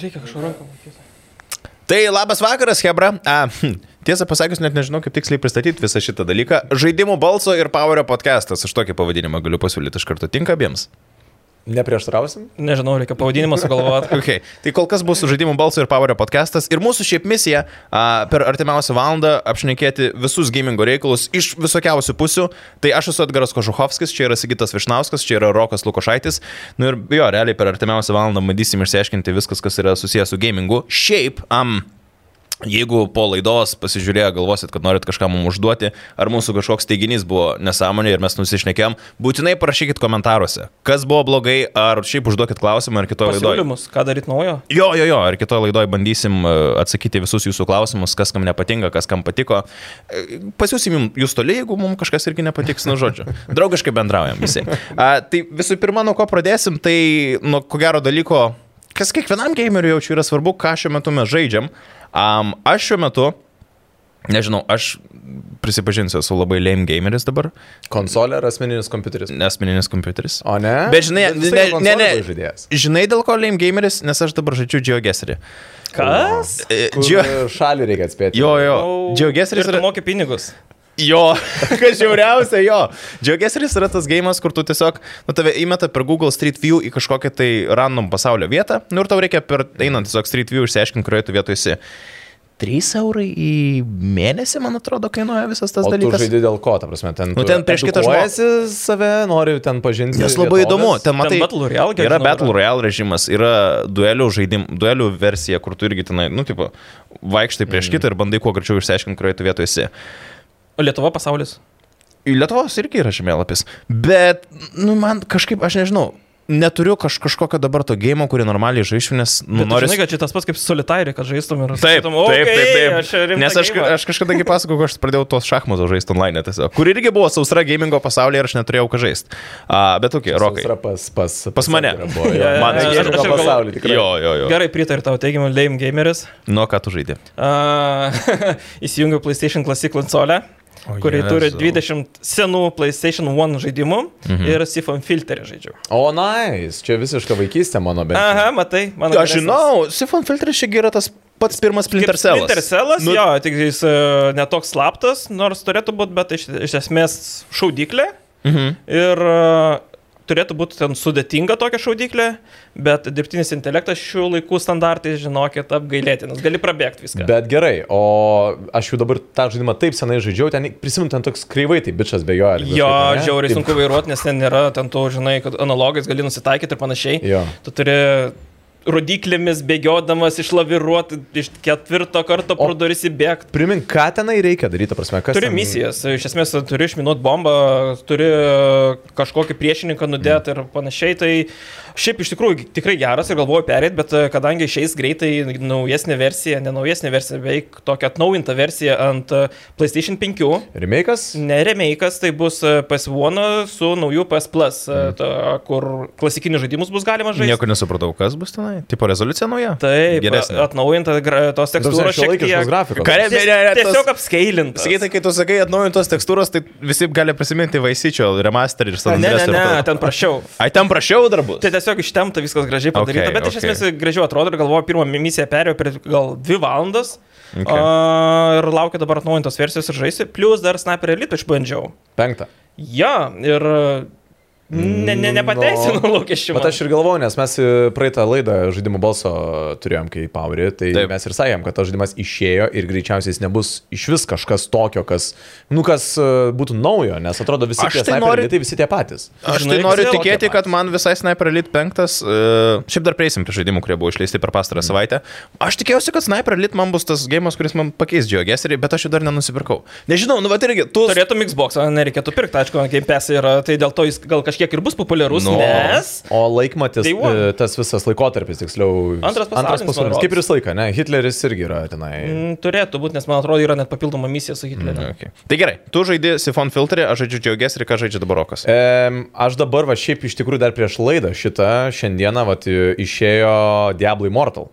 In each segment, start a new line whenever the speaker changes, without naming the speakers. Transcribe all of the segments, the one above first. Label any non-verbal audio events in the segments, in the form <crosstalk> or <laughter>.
Reikia kažko ranką matyti.
Tai labas vakaras, Hebra. A, hm, tiesą pasakius, net nežinau, kaip tiksliai pristatyti visą šitą dalyką. Žaidimų balso ir Powerio podcastas. Aš tokį pavadinimą galiu pasiūlyti iš karto. Tinka abiems.
Neprieštrausim?
Nežinau, reikia pavadinimą
<laughs>
sugalvoti.
Okay. Tai kol kas bus žaidimų balso ir Powerio podcastas. Ir mūsų šiaip misija a, per artimiausią valandą apšnekėti visus gamingo reikalus iš visokiausių pusių. Tai aš esu Edgaras Kožuhovskis, čia yra Sigitas Višnauskas, čia yra Rokas Lukošaitis. Nu ir jo, realiai per artimiausią valandą bandysim išsiaiškinti viskas, kas yra susijęs su gamingu. Šiaip, am. Jeigu po laidos pasižiūrėję galvosit, kad norit kažką mums užduoti, ar mūsų kažkoks teiginys buvo nesąmonė ir mes nusišnekėm, būtinai parašykit komentaruose, kas buvo blogai, ar šiaip užduokit klausimą ir kitoje laidoje.
Pasiūlymus, ką daryti naujo?
Jo, jo, jo, ir kitoje laidoje bandysim e, atsakyti visus jūsų klausimus, kas kam nepatinka, kas kam patiko. E, Pasiūsim jum- jūs toli, jeigu mums kažkas irgi nepatiks, nu žodžiu. Draugiškai bendraujam visi. A, tai visų pirma, nuo ko pradėsim, tai nuo ko gero dalyko, kas kiekvienam gameriui jaučiu yra svarbu, ką šiuo metu mes žaidžiam. Um, aš šiuo metu, nežinau, aš prisipažinsiu, esu labai lame gameris dabar,
Konsolė ar asmeninis kompiuteris?
asmeninis kompiuteris.
O ne? Nu,
Bet žinai,
vis tiek
ne, ne,
konsolė
ne,
buvo Žaidėjas.
žinai dėl ko lame gameris, nes aš dabar žaidžiu geogeserį.
Kas?
Džio... Šalį reikia atspėti.
E, Jo, jo.
Au,
Džiaugesris
ir tu
yra...
moki pinigus.
Jo, <laughs> kas žiauriausia, jo. Džiaugesris yra tas gėjimas, kur tu tiesiog, nu, tave įmeta per Google Street View į kažkokią tai random pasaulio vietą. Nu, ir tau reikia per, einant tiesiog Street View išsiaiškinti, kurioje tu vietoje esi. 3 eurai į mėnesį, man atrodo, kainuoja visas tas
O tu
dalykas.
žaidži dėl ko, ta prasme, ten...
Nu, ten prieš kitą žmogų.
Esi save, noriu ten pažinti.
Nes labai įdomu, ten matai.
Ten Battle Royale, kiek
yra
žinau,
Battle
yra.
Royale režimas, yra duelių žaidim, duelių versija, kur tu irgi tenai, nu, tipo, vaikštai
Mhm.
prieš mm. kitą ir bandai kuo greičiau išsiaiškinti, kurioje tu vietoje esi.
O Lietuva pasaulis.
Lietuvos irgi yra žemėlapis, bet, nu, man kažkaip, aš nežinau, neturiu kaž, kažkokio dabar to gėjimo, kurį normaliai žaisiu, nes nu,
Bet Noriu...
noriu...
Žinai, kad čia tas pats kaip solitairė, kad žaistum ir...
Taip,
sakytum,
taip,
"Okei,
taip,
aš
taip.
rimtą
Nes aš,
geimą."
aš kažkada gi pasakojau, kad aš pradėjau tos šachmatų žaisti online tiesiog, kur irgi buvo sausra gamingo pasaulyje ir aš neturėjau ką žaisti. Uh, bet tokie, okay, rokai.
Yra pas, pas,
Pas mane.
Edgarą
<laughs>
buvo, jo.
Jo, jo,
Man-
Man
jo, aš-
reikia kažko
aš jau galvoju-
pasaulį tikrai.
Jo, jo, jo.
Gerai pritariu tavo teigiamui, lame gameris.
Nu, ką tu žaidė?
A, <laughs> Įsijungiau PlayStation Classic konsolę,
O
kuri
Jėzau.
turi 20 senų PlayStation 1 žaidimų
Mhm.
ir Sifon filterį žaidžiu.
O, nice, čia visiška vaikystė mano bent.
Ah.
jau.
Aha, matai, mano.
Aš žinau, Sifon filtras šiaip yra tas pats pirmas Splintercelas.
Intercelas, nu... jo, tik jis e, netoks slaptas, nors turėtų būti, bet iš, iš esmės šaudyklė.
Mhm.
Ir e, turėtų būti ten sudėtinga tokia šaudyklė, bet dirbtinis intelektas šių laikų standartai, žinokit, apgailėtinas. Gali prabėgti viską.
Bet gerai, o aš jau dabar tą žaidimą taip senai žaidžiau, ten prisimint, ten toks kreivai, tai bičias bejoja.
Jo, žiauriai sunku vairuoti, nes ten nėra, ten tu žinai, kad analogais gali nusitaikyti ir panašiai.
Jo.
Tu turi rodiklėmis bėgiodamas išlaviruoti, iš ketvirto karto pro duris įbėgti.
Primink, ką tenai reikia daryti, ta prasme, kas.
Turi
ten-
misijas, iš esmės turi išminuoti bombą, turi kažkokį priešininką nudėti ir panašiai. Tai šiaip iš tikrųjų tikrai geras ir galvoju perėti, bet e, kadangi išeis greitai naujesnė versija, ne naujesnė versija, beveik tokia atnaujinta versija ant e, PlayStation 5.
Mm.
Remake'as?
Ne remake'as, tai bus e, PS1 su nauju PS Plus, e,
Mhm.
ta, kur klasikinius žaidimus bus galima žaisti.
Nieko nesupratau, kas bus tenai. Tipo rezoliucija nauja?
Taip,
Geresnė.
a- atnaujinta gra- tos
Ta prasme,
tekstūros šiek
šiuolaikiškos
tiek.
grafikos.
Ką reiškia? Ne, ne, ne, tas-
Tiesiog apskailinta.
Sakytai, kai tu sakai atnaujintos tekstūros, tai visi gali prisiminti Vaisyčio remasterį ir
Ne,
Sanandrės.
ne, ne, ten prašiau.
Ai, ten prašiau darbus.
Tai tiesiog ištemta viskas gražiai padaryta,
Okay,
okay, bet iš
okay.
esmės gražiau atrodo ir galvoju, pirmą misiją perėjau per gal 2 valandas
Okay.
okay. a, ir laukia dabar atnaujintos versijos ir žaisiu, plus dar Sniper Elite išbandžiau.
Penktą.
Ja, ir ne, ne, nepateisinau no. lūkesčių.
Nu, Bet aš ir galvoju, nes mes e, praeitą laidą žaidimų balso turėjom, kai Pauri, tai
Taip.
Taip. mes ir sakėm, kad tas žaidimas išėjo ir greičiausiai jis nebus iš vis kažkas tokio, kas, nu, kas e, būtų naujo, nes atrodo visi
Aš
tie
tai
tai
noriu-
noriu... tai visi tie patys.
Aš
Žinai,
tai noriu
visi tokie
tikėti, kad man visai Sniper Elite 5, uh, šiaip dar prieisim prie žaidimų, kurie buvo išleisti per pastarą
Mhm.
savaitę. Aš tikėjausi, kad Sniper Elite man bus tas gėjimas, kuris man pakeis džiaugesį, bet aš jų dar nenusipirkau. Nežinau, nu va irgi, tu...
Turėtum Xbox, o nereikėtų pirkti, aišku, Game Pass yra, tai dėl to jis gal kažkiek ir bus populiarus,
Nu.
No.
no. nes...
O laikmatis,
Day one.
e, tas visas laikotarpis, tiksliau,
Antras pasaulinis, man
pasaulinis.
rodos.
Kaip ir visą laiką, ne? Hitleris irgi yra tenai.
mm, Turėtų būti, nes man atrodo yra net papildoma misija su
Mhm.
Hitleriu.
Okay. Tai gerai, tu žaidži Sifon filterį, aš žaidžiu džiaugesį, ką žaidžia dabar
E,
Rokas.
Em, Aš dabar, va šiaip iš tikrųjų dar prieš laidą šitą, šiandieną, va, išėjo Diablo e, Immortal.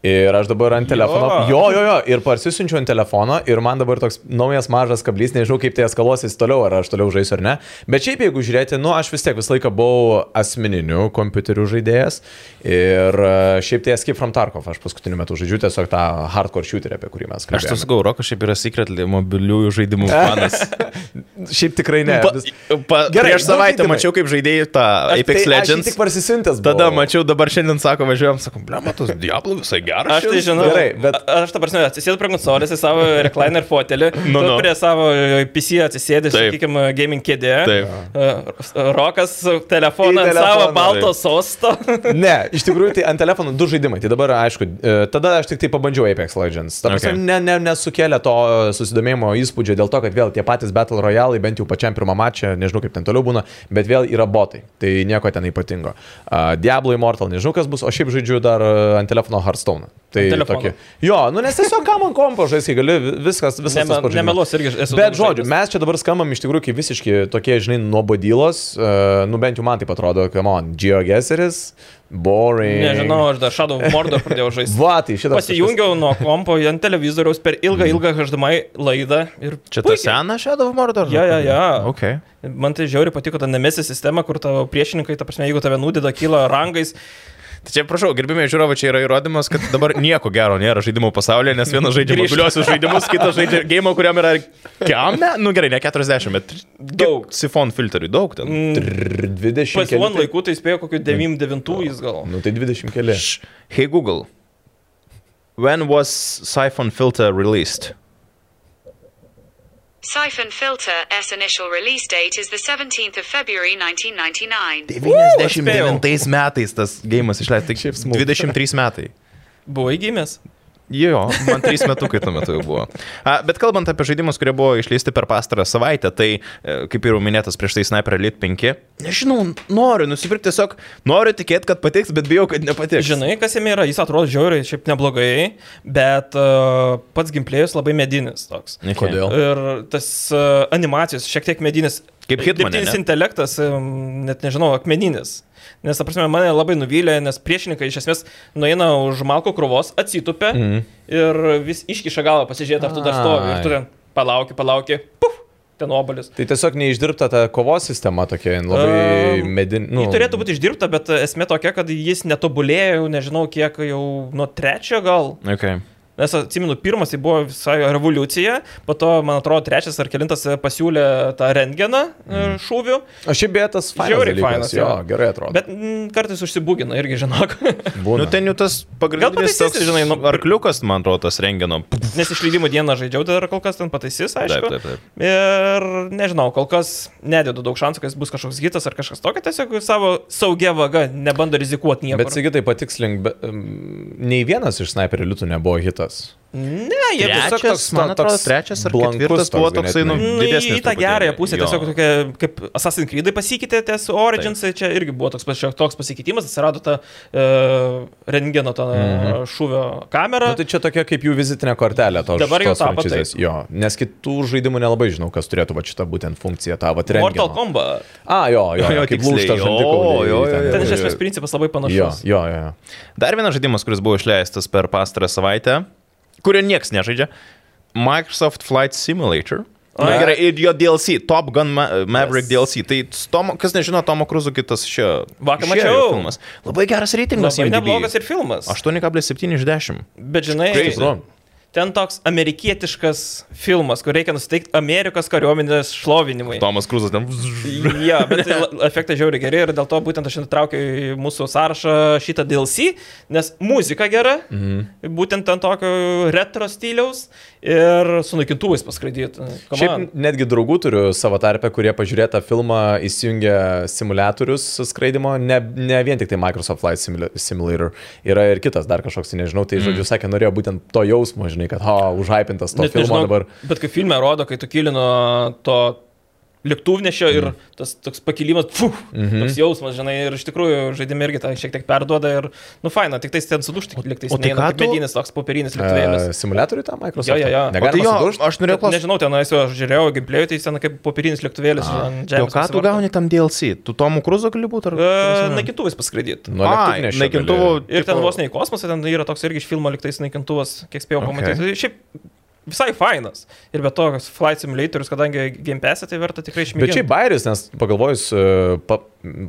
Ir aš dabar ant telefono.
Jo.
Jo, jo, jo. Ir parsisiunčiu ant telefono. Ir man dabar toks naujas mažas kablys. Nežinau, kaip tai eskalosis toliau, ar aš toliau žaisiu ar ne. Bet šiaip jeigu žiūrėti, nu, aš vis tiek visą laiką buvau asmeniniu kompiuteriu žaidėjas. Ir e, šiaip tai Escape from Tarkov. Aš paskutiniu metu žaidžiu tiesiog tą hardcore shooterį, apie kurį mes
Aš tau
kalbėjome.
sakau, Rokas šiaip yra secret mobiliųjų
<laughs>
žaidimų fanas.
<laughs> Šiaip tikrai ne.
Pa,
vis-
pa,
Gerai,
Gerai, prieš
nu,
savaitę
vykdymai.
mačiau, kaip žaidėjai tą
Aš
Apex
tai- aš jį
Legends.
tik parsisintęs.
Tada
buvau.
mačiau, dabar šiandien sako, važiuojam, sakom, ble, matos, Diablo visai geras.
Aš tai
šitas."
žinau.
gerai, bet-
A- Aš tą prasme atsisėdu prie konsolės į savo recliner fotelį,
<laughs> Nu,
tu
nu.
prie savo e, PC atsisėdi,
Taip.
sakykime, gaming kėdė.
Taip.
E, Rokas
Į
telefoną ant
telefoną,
savo
taip.
balto sosto.
Ne, iš tikrųjų, tai ant telefonų du žaidimai. Tai dabar, aišku, e, tada aš tik tai pabandžiau Apex Legends. Tam okay.
Okay.
ne, ne, nesukėlė to e, susidomėjimo įspūdžio dėl to, kad vėl tie patys Battle Royale, bent jau pačiam pirmą mačą, nežinau kaip ten toliau būna, bet vėl yra botai. Tai nieko ten ypatingo. Uh, Diablo Immortal, nežinau kas bus, o šiaip žaidžiu dar e, ant telefono Hearthstone. Tai
Ant telefono.
tokie. Jo, nu nes tiesiog kam ant kompo žaisti gali, vi- viskas, viskas.
Neme-
tas pats žaidimas.
Nemeluos irgi esu.
Bet
daug
žodžiu,
žaidęs.
mes čia dabar skambam iš tikrųjų kaip visiški tokie, žinai, nuobodylos, uh, nu bent jau man tai atrodo, come on, geogeseris, boring.
Nežinau, aš dar Shadow
<laughs>
of Mordor pradėjau žaisti.
Va, tai šitas.
Pasijungiau nuo kompo ant televizoriaus per ilgą, ilgą HDMI laidą. ir
Mhm. Čia
puikiai.
tas senas Shadow of Mordor?
Jo, jo, jo.
Okay.
Man tai žiauri patiko ta nemesi sistema, kur tavo priešininkai, ta prasme, jeigu tave nudida, kyla rangais.
Tai čia, prašau, gerbimiai žiūrovai, čia yra įrodymas, kad dabar nieko gero nėra žaidimų pasaulyje, nes vienas žaidžia
Grįžt.
mobiliuosius žaidimus, kitas žaidžia game, kuriam yra... Kiam? Ne, nu gerai, ne 40, bet...
Daug.
Sifon filterių daug ten. Mm.
20.
PS1
keli-
laikų tai spėjo kokiu 99 jis gal.
Nu tai 20 keli.
Hey Google. When was Siphon filter released?
Siphon Filter S initial release date is the 17th of February 1999.
99 metais tas gėjimas išleistas.
Šiaip
Tik
smulku.
23 metai.
Buvo įgimęs.
Jo, man 3 metukai tuo metu jau buvo. A, bet kalbant apie žaidimus, kurie buvo išleisti per pastarą savaitę, tai e, kaip ir jau minėtas prieš tai Sniper Elite 5, nežinau, noriu nusipirkti tiesiog, noriu tikėti, kad patiks, bet bijau, kad nepatiks.
Žinai, kas jame yra, jis atrodo žiauriai, šiaip neblogai, bet uh, pats gimplėjus labai medinis toks.
Okay.
Kodėl?
Ir tas uh, animacijos šiek tiek medinis.
Kaip Hitmane,
Dirbtinis
ne?
intelektas, em, net nežinau, akmeninis. Nes, ta prasme, mane labai nuvylė, nes priešininkai iš esmės nueina už malko krūvos, atsitupia
Mhm.
mm. ir vis iškiša galvą pasižiūrėti, ar tu dar stovi. Ir tu
Ai.
ten palauki, palauki, puf, ten obalis.
Tai tiesiog neišdirbta ta kovos sistema tokia, jin labai
Ehm,
medinė.
Nu,
Nu,
jį turėtų būti išdirbta, bet esmė tokia, kad jis netobulėjo, jau nežinau, kiek jau nuo trečio gal.
Okay.
Nes atsimenu, pirmas tai buvo visai revoliucija, po to, man atrodo, trečias ar kilintas pasiūlė tą rengeną mm. šūvių,
O šiaip beje tas fainas.
Žiauriai
dalykas,
fainas,
Jo,
jo.
gerai atrodo.
bet mm, kartais užsibūgina irgi, žinok, <laughs>
būna.
Nu, ten jau tas pagrindinis
pataisys,
toks,
žinai,
žinai,
nu,
arkliukas, man atrodo, tas rengino.
nes išleidimo dieną žaidžiau, tai dar kol kas ten pataisys, aišku.
taip, taip.
Ir nežinau, kol kas nededu daug šansų, kad jis bus kažkoks hitas ar kažkas tokio, tiesiog savo saugia vaga nebando rizikuoti
Bet
niekur.
sakytai patikslink, be, em, nei vienas iš sniperio litų nebuvo hitas.
Ne, jie tiesiog
Trečias,
toks,
man atrodo, trečias ar ketvirtas buvo toksai, nu,
Nu, į, į
didesnis.
tą
truputėlį.
gerąją pusę,
Jo.
tiesiog tokia, kaip Assassin's Creed pasikeitė, ties Origins, Taip. čia irgi buvo toks, pas- šiok toks pasikeitimas, atsirado ta uh, rengeno ta mhm. šūvio kamera.
Nu, tai čia tokia kaip jų vizitinė kortelė to
Dabar jau
šitos
tapo
frančizės. Jo, nes kitų žaidimų nelabai žinau, kas turėtų va šitą būtent funkciją tavo trenirą.
Mortal Kombat.
A, jo, jo,
Jo,
jo kaip
tiksliai,
lūžta
jo,
žandikauliai.
jo, jo,
Ten iš
jo,
esmės principas labai
Jo,
panašus.
jo, jo. jo.
Dar vienas žaidimas, kuris buvo išleistas per pastarą savaitę, kurio niekas nežaidžia. Microsoft Flight Simulator. Na,
Ai.
gerai, ir jo DLC, Top Gun Ma Maverick DLC. Tai, s- Tomo, kas nežino, Tomo Cruzo kitas šio.
Vakar
šio
mačiau.
Filmas. Labai geras reitingas.
Labai
IMDb.
neblogas ir filmas.
8,7 iš 10.
Bet žinai,
Crazy.
Tikru.
ten toks amerikietiškas filmas, kur reikia nusteikti Amerikos kariuomenės šlovinimui.
Tomas Kruzas ten.
Ja, bet tai la- efektai žiauriai geri ir dėl to būtent aš įtraukiau į mūsų sąrašą šitą DLC, nes muzika gera, mhm. būtent ant tokio retro stiliaus ir su naikintuvais paskraidyti.
Šiaip netgi draugų turiu savo tarpe, kurie pažiūrėjo tą filmą, įsijungia simulatorius skraidimo, ne, ne vien tik tai Microsoft Flight Simula- Simulator, yra ir kitas dar kažkoks, tai nežinau, tai žodžiu, sakė, norėjo būtent to jausmo, žinai, kad, ha, užhypintas to
Mm. Net
filmo
nežinau,
dabar.
bet kai filme rodo, kai tu kilino to lėktuvnešio ir tas toks pakilimas, puf, toks jausmas, žinai, ir iš tikrųjų žaidime irgi tą šiek tiek perduoda ir, nu, faina, tik tai ten sudužti, liktais
o tai
neina,
ką
kaip
tu-
medinis toks popierinis lėktuvėlis.
E, Simuliatorių tą Microsoft?
tai Jo, jo, jo.
O tai
Negalima
jo,
sudužt?
aš norėjau klausti.
Nežinau, ten esu, aš žiūrėjau, gameplay, tai ten kaip popierinis lėktuvėlis. ant
O
žemės
ką tu
pasivarto.
gauni tam DLC? Tu Tomu Cruzo gali būti?
E, Naikintuvais paskraidyti.
Nuo
Ai,
lėktuvnešio
naikintuvų.
gali-
Ir ten
tipo-
vos ne į kosmosą, ten yra toks irgi iš filmo liktais naikintuvas, kiek spėjau
Okay.
pamatyti. Okay. Šiaip visai fainas. Ir be to, kas Flight Simulatorius, kadangi gimpesia, tai verta tikrai
Bet
išmėginti.
šiaip bairis, nes pagalvojus, e, pa,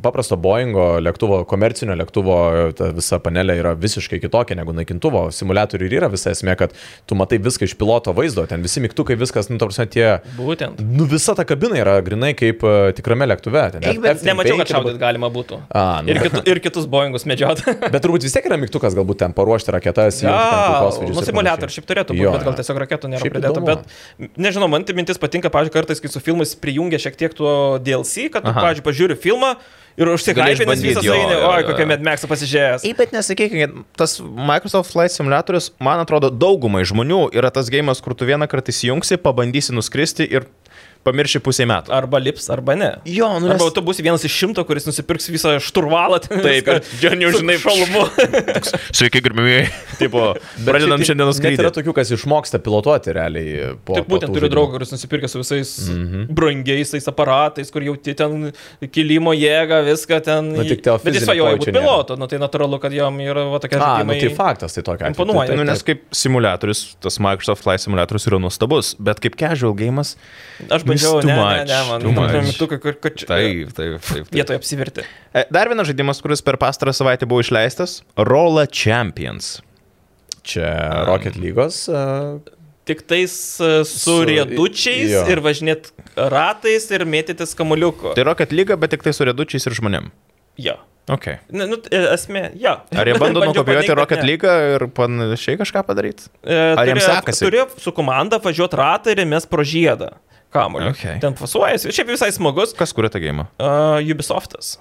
paprasto Boeingo lėktuvo, komercinio lėktuvo e, ta visa panelė yra visiškai kitokia negu naikintuvo. Simuliatorių ir yra visa esmė, kad tu matai viską iš piloto vaizdo, ten visi mygtukai, viskas, nu, tarsi tie...
Būtent.
Nu, visa ta kabina yra grinai kaip e, tikrame lėktuve. Ten,
Eik, bet
F-35
Nemačiau, kad
dabar-
šaudyt galima būtų.
A, nu.
Ir, kitu, ir kitus Boeingus medžiot.
Bet turbūt vis tiek yra mygtukas, galbūt ten paruošti raketas,
Ja,
įjungti ten kulkosvaidžius
nu,
ir
simuliatorius
panašiai.
šiaip turėtų būti,
Jo,
bet gal
jo.
tiesiog raketų nėra
Šiaip
pridėta.
įdomu.
Bet nežinau, man tai mintis patinka, pavyzdžiui, kartais, kai su filmais prijungia šiek tiek tuo DLC, kad, tu,
Aha.
pavyzdžiui, pažiūri filmą ir
Gali
užsikaipinęs
išbandyt,
visas
jo,
eini,
jo,
oi,
jo.
kokia medmeksa pasižiūrėjęs.
Ypač nesakykime, tas Microsoft Flight Simulatorius, man atrodo, daugumai žmonių yra tas gėjimas, kur tu vieną kartą įsijungsi, pabandysi nuskristi ir pamirši pusę metų.
Arba lips, arba ne.
Jo, nu,
Arba
nes-
tu būsi vienas iš šimto, kuris nusipirks visą šturvalą. ten
Taip, <laughs>
viską
ir jo neužinai,
su šalmu.
<laughs> Sveiki, gerbimieji. Tipo,
Bet
pradedam
šiaip tai
šiandienos
net
skrydį.
Yra tokių, kas išmoksta pilotuoti realiai po...
Tik
po
būtent
tų
turiu
žaidimų.
draugą, kuris nusipirkė su visais
Mhm.
brangiais tais aparatais, kur jauti ten kilimo jėgą, viską ten.
Nu, tik teo
Bet jis
fizinio
svajoja
pojūčio
būti
nėra.
pilotu, nu, tai natūralu, kad jam yra va, tokie
A, nu,
žaidimai.
tai faktas, tai tokia.
Imponuoja.
Nu, nes kaip simulatorius, tas Microsoft Flight Simulatorius yra nuostabus, bet kaip casual gėjimas.
Aš bandžiau,
Too
ne, ne,
much,
ne, man
too much. Tai,
mygtukai, kur kad čia.
Taip, taip, taip. taip.
Vietoje apsiverti.
E, Dar vienas žaidimas, kuris per pastarą savaitę buvo išleistas - Rolla Champions.
Čia Rocket e, lygos.
Tik tais e, su
Su-
riedučiais
jo.
ir važinėt ratais ir mėtytis kamuliuku.
Tai Rocket lyga, bet tik tai su riedučiais ir žmonėm.
Jo.
Okay.
Na, nu, t- e, esmė, jo.
Ar
<laughs>
jie bando
Bandžiau paneigt,
nukopijuoti
bet
Rocket
ne.
League ir panašiai kažką padaryti?
Ar
jiems sekasi?
Turėjo su komanda važiuoti ratą ir mes pro žiedą. Kamuolį.
Okay.
Ten fasuojasi. Šiaip visai smagus.
Kas kuria tą gėjimą?
Uh, Ubisoftas.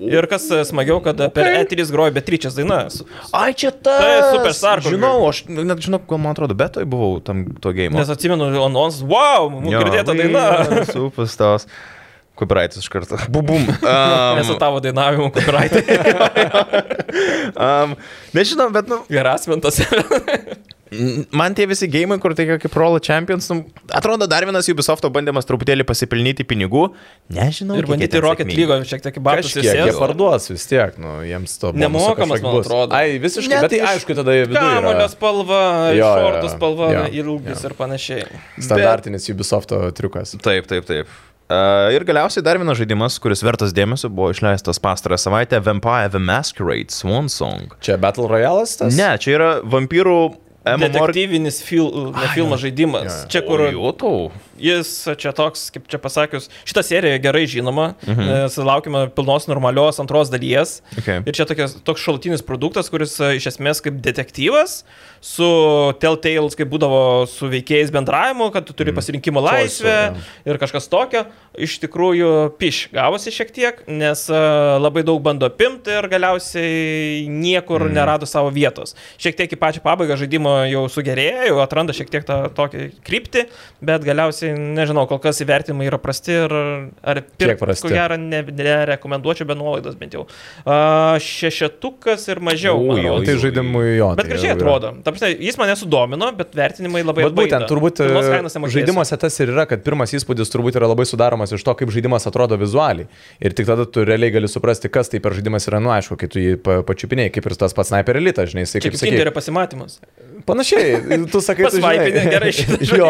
Ir kas e, smagiau, kad per E3 groja Beatričės dainas.
Ai, čia
Tai Superstar kokia.
Žinau, aš net žinau, kuo man atrodo, betoj buvau tam to gėjimo.
Nes atsimenu, Onons, wow, mums girdėta daina. <laughs>
Superstars. Kubraitis iš karto. <laughs> Bubum.
Nesu
Um,
tavo dainavimu, kaip
<laughs>
raitai.
um, nežinau, bet nu,
Gerasmintas.
n- man tie visi gėjimai, kur tai kaip Rolla Champions, nu, atrodo dar vienas Ubisofto bandymas truputėlį pasipilnyti pinigų. Nežinau.
ir bandyti Rocket League šiek tiek batus
Nu, Kažkiek jie parduos vis tiek, nu, jiems to bonuso
Nemokamas,
kažkiek
man
bus.
atrodo.
Ai, visiškai.
Ne,
Ne, bet tai
tai iš-
aišku, tada jie
Kamulio
viduje.
spalva,
Jo, jo, jo.
šortų spalva,
Jo,
ilgis ir panašiai.
Standartinis Ubisofto triukas.
Taip, taip, taip. Uh, ir galiausiai dar vienas žaidimas, kuris vertas dėmesio, buvo išleistas pastarą savaitę - Vampire the Masquerade Swan Song.
Čia Battle Royale'as tas?
Ne, čia yra vampyrų MMOR.
Detektyvinis fil, ne filmas žaidimas. Čia kur
Jūtau.
jis, čia toks, kaip čia pasakius, šitą seriją gerai žinoma, mhm. laukime pilnos normalios antros dalies.
Okay.
Ir čia tokias, toks šalutinis produktas, kuris e, iš esmės kaip detektyvas, su Telltales, kaip būdavo su veikėjais bendravimu, kad tu turi pasirinkimo
Choice,
laisvę ir kažkas tokio, iš tikrųjų piš gavosi šiek tiek, nes e, labai daug bando apimti ir galiausiai niekur
Mhm.
nerado savo vietos. Šiek tiek į pačią pabaigą žaidimo jau sugerėjo, jau atranda šiek tiek tą tokį kryptį, bet galiausiai, nežinau, kol kas įvertimai yra prasti ir ar
Kiek
pirkt,
prasti?
Ko gero ne- nerekomenduočiau be nuolaidos bent jau. A, šešetukas ir mažiau. man
Ui,
O
rodos.
tai žaidimui jo.
Bet
tai
gražiai
jau yra.
atrodo. Ta prasme, jis mane sudomino, bet vertinimai labai...
Bet būtent, turbūt e,
žaidimas.
žaidimuose tas ir yra, kad pirmas įspūdis turbūt yra labai sudaromas iš to, kaip žaidimas atrodo vizualiai. Ir tik tada tu realiai gali suprasti, kas tai per žaidimas yra, nu aišku, kai tu jį pa- pačiupinėjai, kaip ir tas pats sniper elitas, žinai, jisai
Čia
kaip
kaip
sakė.
Kinderio pasimatymas.
Panašiai, tu sakai, tu
Pasvaipini,
<laughs>
gerai šitą
jo.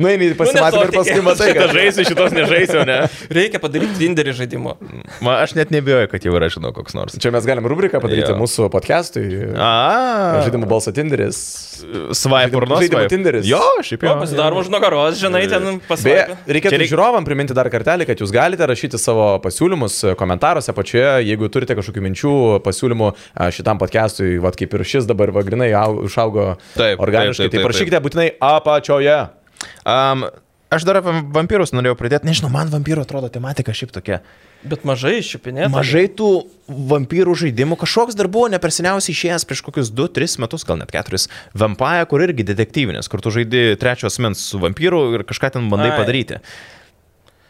Nu, eini į pasimatymą ir
nesuotikė.
paskui matai,
Šitą
kad
žaisiu, šitos nežaisiu, ne?
Reikia <clears throat> padaryti Tinderį žaidimą.
Man, aš net nebijoju, kad jau yra, žinau, koks nors.
Čia mes galim rubriką padaryti
Jo.
mūsų podcastui.
A,
Žaidimų balso Tinderis.
Swipe
Žaidimų-
or not.
žaidimų
swipe.
Tinderis.
Jo, šiaip
Jo,
jau.
pasidarom už nugaros, žinai, ten
Beje,
pasvaipini.
Čia
reikėtų
reik-
reik... žiūrovam priminti dar kartelį, kad jūs galite rašyti savo pasiūlymus e, komentaruose apačioje, jeigu turite kažkokių minčių, pasiūlymų e, šitam podcastui, va kaip ir šis dabar vagrinai išaugo
Taip, taip, taip,
organiškai. Tai
taip,
parašykite būtinai apačioje.
Um, aš dar apie vampyrus norėjau pridėti. Nežinau, man vampyrų atrodo tematika šiaip tokia.
Bet mažai iššipinėta.
Mažai tų vampyrų žaidimų, kažkoks dar buvo neperseniausiai išėjęs prieš kokius 2-3 metus, gal net 4, Vampire, kur irgi detektyvinis, kur tu žaidi trečios mens su vampyru ir kažką ten bandai
Ai.
padaryti.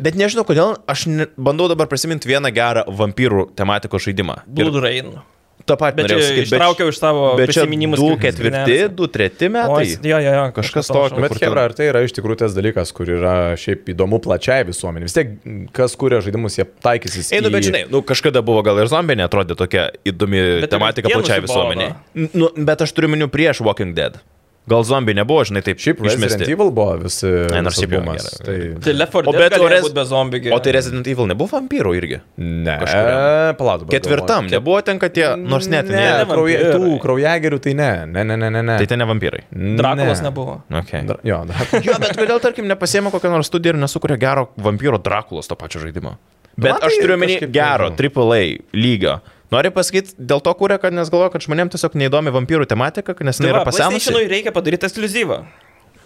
Bet nežinau, kodėl aš ne, bandau dabar prisiminti vieną gerą vampyrų tematikos žaidimą. Ir
Blood Rain.
tą patį
Bet
norėjau
čia
sakyt, bet-
ištraukiau iš savo
bet čia
prisiminimus,
Du
kaip
ketvirti,
gyvenęs.
du treti
Oi,
metai.
jo, jo, jo,
kažkas
panašaus.
tokio.
Bet
kur ten-
Hebra, ar tai yra iš tikrųjų tas dalykas, kur yra šiaip įdomu plačiai visuomeniai? Vis tiek, kas kuria žaidimus, jie taikysis.
Einu, bet žinai, nu, kažkada buvo gal ir zombiai netrodė tokia įdomi
Bet
bet tematika
ir tie
plačiai
nusibodo.
visuomeniai. N- Nu, bet aš turiu miniu prieš Walking Dead. Gal zombiai nebuvo, žinai, taip
Šiaip Resident
išmesti.
Evil buvo visi.
Ne, nors šiaip jau
bumas.
gerai.
Tai...
Tai Left 4
O
Dead
bet
galėjo
Ores-
būt be zombių. gi.
O tai Resident Evil nebuvo vampyrų irgi.
Ne,
Kažkuriam.
E, palauk. dabar
Tai Ketvirtam
galvoju.
nebuvo ten, kad tie, nors net
Ne,
ne.
ne
krauja,
vampyrai.
tų kraujagerių tai ne. Ne, ne, ne, ne. ne.
Tai ten ne vampyrai.
Drakulas nebuvo.
Okay.
Dra- Jo, dra...
Jo, bet kodėl, tarkim, nepasiema kokią nors studiją ir nesukuria gero vampyro Drakulos to pačio žaidimo? Bet
matai,
aš turiu omeny
kažkaip
gero,
nežinau.
AAA lygio. Noriu pasakyti, dėl to kūrė, kad nes galvoju, kad žmonėms tiesiog neįdomi vampyrų tematika, kad nes
Tai
jinai yra
va, PlayStation'ui
pasenusi.
reikia padaryti ekskluzyvą.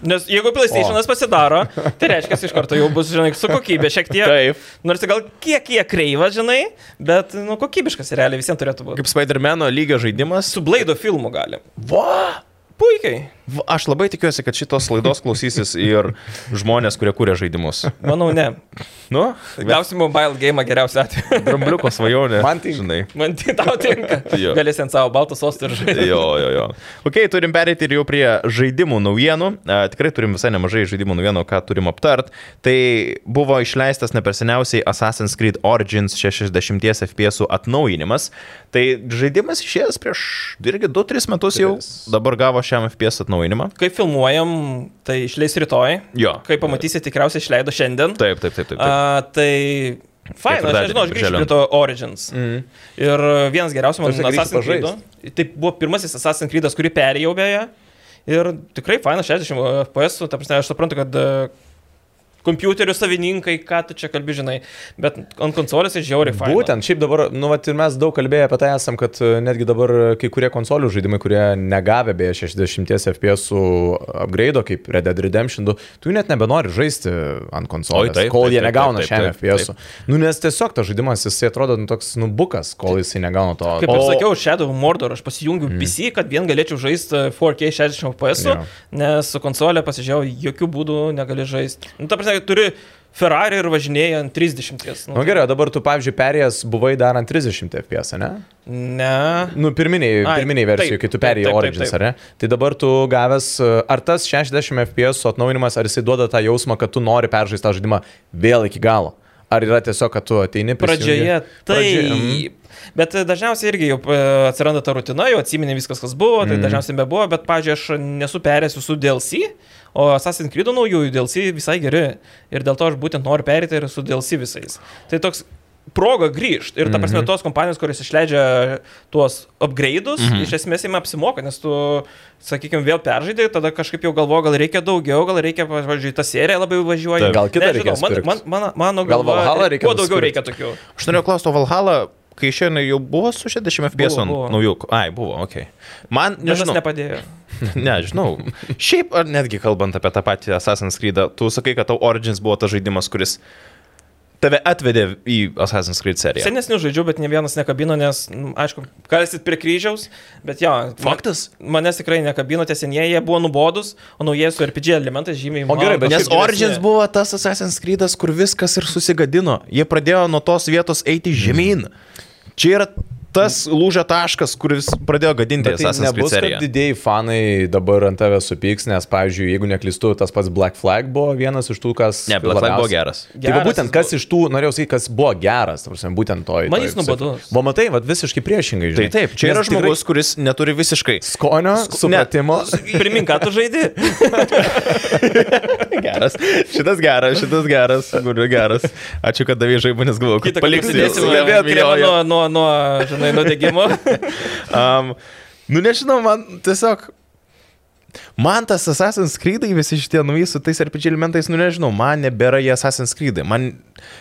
Nes jeigu PlayStation'as pasidaro,
<laughs>
tai reiškia, iš karto jau bus, žinai, su kokybė šiek tiek.
Taip.
Nors gal kiek jie kreiva, žinai, bet, nu, kokybiškas realiai visiems turėtų būti.
Kaip Spider-Man lygio žaidimas.
Su Blaido filmu gali.
Va!
Puikiai.
Va, Aš labai tikiuosi, kad šitos laidos klausysis ir žmonės, kurie kūrė žaidimus.
Manau, ne.
Nu,
Gausim mobile game geriausiu atveju. <laughs>
drambliuko svajonė.
Man tinka.
žinai.
Man tai tau tinka.
Jo.
Galėsi ant savo baltos sostų ir žaisti.
<laughs> Jo, jo, jo. Ok, turim pereiti ir jau prie žaidimų naujienų. E, tikrai turim visai nemažai žaidimų naujienų, ką turim aptart. Tai buvo išleistas neperseniausiai Assassin's Creed Origins 60 FPS atnaujinimas. Tai žaidimas išėjęs prieš irgi 2-3 metus jau.
Tris.
Dabar gavo šiam FPS atnaujinimą.
Kai filmuojam, tai išleis rytoj.
Jo.
Kai pamatysi, tikriausiai išleido šiandien.
Taip, taip, taip, taip. taip.
A, tai... Faina, aš
Ketvirtadienį,
nežinau, aš grįžtu
birželio.
prie to Origins. Mm. Ir vienas geriausių
Ta
mano
prasme,
Assassin's
grįši
Creed. Tai buvo pirmasis Assassin's Creed, kurį perėjau beje. Ir tikrai faina, 60 FPS, ta prasme, aš suprantu, kad e, kompiuterių savininkai, ką tu čia kalbi, žinai, bet ant konsolės jis žiauriai faina.
Būtent, šiaip dabar, nu, vat, ir mes daug kalbėję apie tai esam, kad e, netgi dabar e, kai kurie konsolių žaidimai, kurie negavė beje 60 FPS upgrade, kaip Red Dead Redemption 2, tu jų net nebenori žaisti ant
Oi,
konsolės,
taip,
kol
taip,
jie
taip,
negauna
taip,
šiam
taip,
FPS. -u. Nu, nes tiesiog tas žaidimas, jisai atrodo nu, toks nubukas, kol jisai negauna to.
Kaip
O-
ir sakiau, Shadow of Mordor, aš pasijungiu mm. PC, kad vien galėčiau e, žaisti 4K 60 FPS,
Mhm. Jo.
nes su konsolė pasižiūrėjau, jokių būdų negali žaisti. Nu, ta prasme, kad turi Ferrari ir važinėjai ant 30.
Na nu, gerai, o dabar tu, pavyzdžiui, perėjęs buvai dar ant 30 FPS, ne?
Ne.
Nu, pirminiai,
Ai,
pirminiai
taip,
versijų, kai tu
taip,
perėjai
taip, taip,
Origins,
taip.
ar ne? Tai dabar tu gavęs, uh, ar tas 60 FPS atnaujinimas, ar jisai duoda tą jausmą, kad tu nori peržaisti tą žaidimą vėl iki galo? Ar yra tiesiog, kad tu ateini prie...
Pradžioje
Pradžioje, mhm.
tai. Bet e, dažniausiai irgi jau e, atsiranda ta rutina, jau atsiminė viskas, kas buvo, tai
Mhm.
mm. dažniausiai bebuvo, bet, pavyzdžiui, aš nesu perėjęs su DLC, o Assassin's Creed naujųjų DLC visai geri. Ir dėl to aš būtent noriu perėti ir su DLC visais. Tai toks proga grįžti. Ir ta prasme,
Mhm.
tos kompanijos, kurios išleidžia tuos upgrade'us,
Mhm.
mm -hmm. iš esmės jiems apsimoka, nes tu, sakykime, vėl peržaidai, tada kažkaip jau galvo, gal reikia daugiau, gal reikia, pavyzdžiui, tą seriją labai važiuoja.
Taip. Gal kitą reikės
man,
pirkt.
man, man, mano
Gal
galva,
Valhalą reikia
e, kuo daugiau
nusipirkt.
reikia tokių.
Aš norėjau klausti, o Valhalla, kai išėjo, jau buvo su 60 FPS
Buvo,
ant
buvo.
naujų. Ai, buvo, okei. Okay. Man,
Vienas
nežinau,
nepadėjo.
Nežinau. Šiaip, ar netgi kalbant apie tą patį Assassin's Creed, tu sakai, kad tau Origins buvo tas žaidimas, kuris tave atvedė į Assassin's Creed seriją.
Senesnių žaidžių, bet ne vienas nekabino, nes, nu, aišku, kalsit prie kryžiaus, bet jo.
Faktas.
man- Manęs tikrai nekabino, tie senieji jie buvo nubodus, o naujieji su RPG elementais žymiai.
O gerai, bet
Nes
Kažkaip
Origins buvo tas Assassin's Creed, kur viskas ir susigadino. Jie pradėjo nuo tos vietos eiti žemyn. Čia yra tas lūžio taškas, kuris pradėjo gadinti
Mm. Bet tai
Assassin's Creed
nebus, kad
seriją.
didėjai fanai dabar ant tave supyks, nes, pavyzdžiui, jeigu neklystu, tas pats Black Flag buvo vienas iš tų, kas...
Ne, Black Flag buvo
labiausiai-
geras.
Tai va
Geras
būtent,
jis
kas iš tų, norėjau sakyti, kas buvo geras, ta prasme, būtent to.
Man jis nuobodus.
Va matai, va visiškai priešingai.
Tai
žinai.
taip, čia
Nes
yra
tikrai
žmogus, kuris neturi visiškai
<laughs> Skonio, supratimo.
Primink, ką tu žaidži.
<laughs> Geras. Šitas geras, šitas geras, guriu geras. Ačiū, kad davė žaibą, nes galvoju, kad
Kitą
paliksi.
Kalbėsime nuo, nuo, nuo, žinai, nudegimo.
Um, nu nežinau, man tiesiog... Man tas Assassin's Creed, visi šitie nauji su tais RPG elementais, nu nežinau, man nebėra jie Assassin's Creed. Man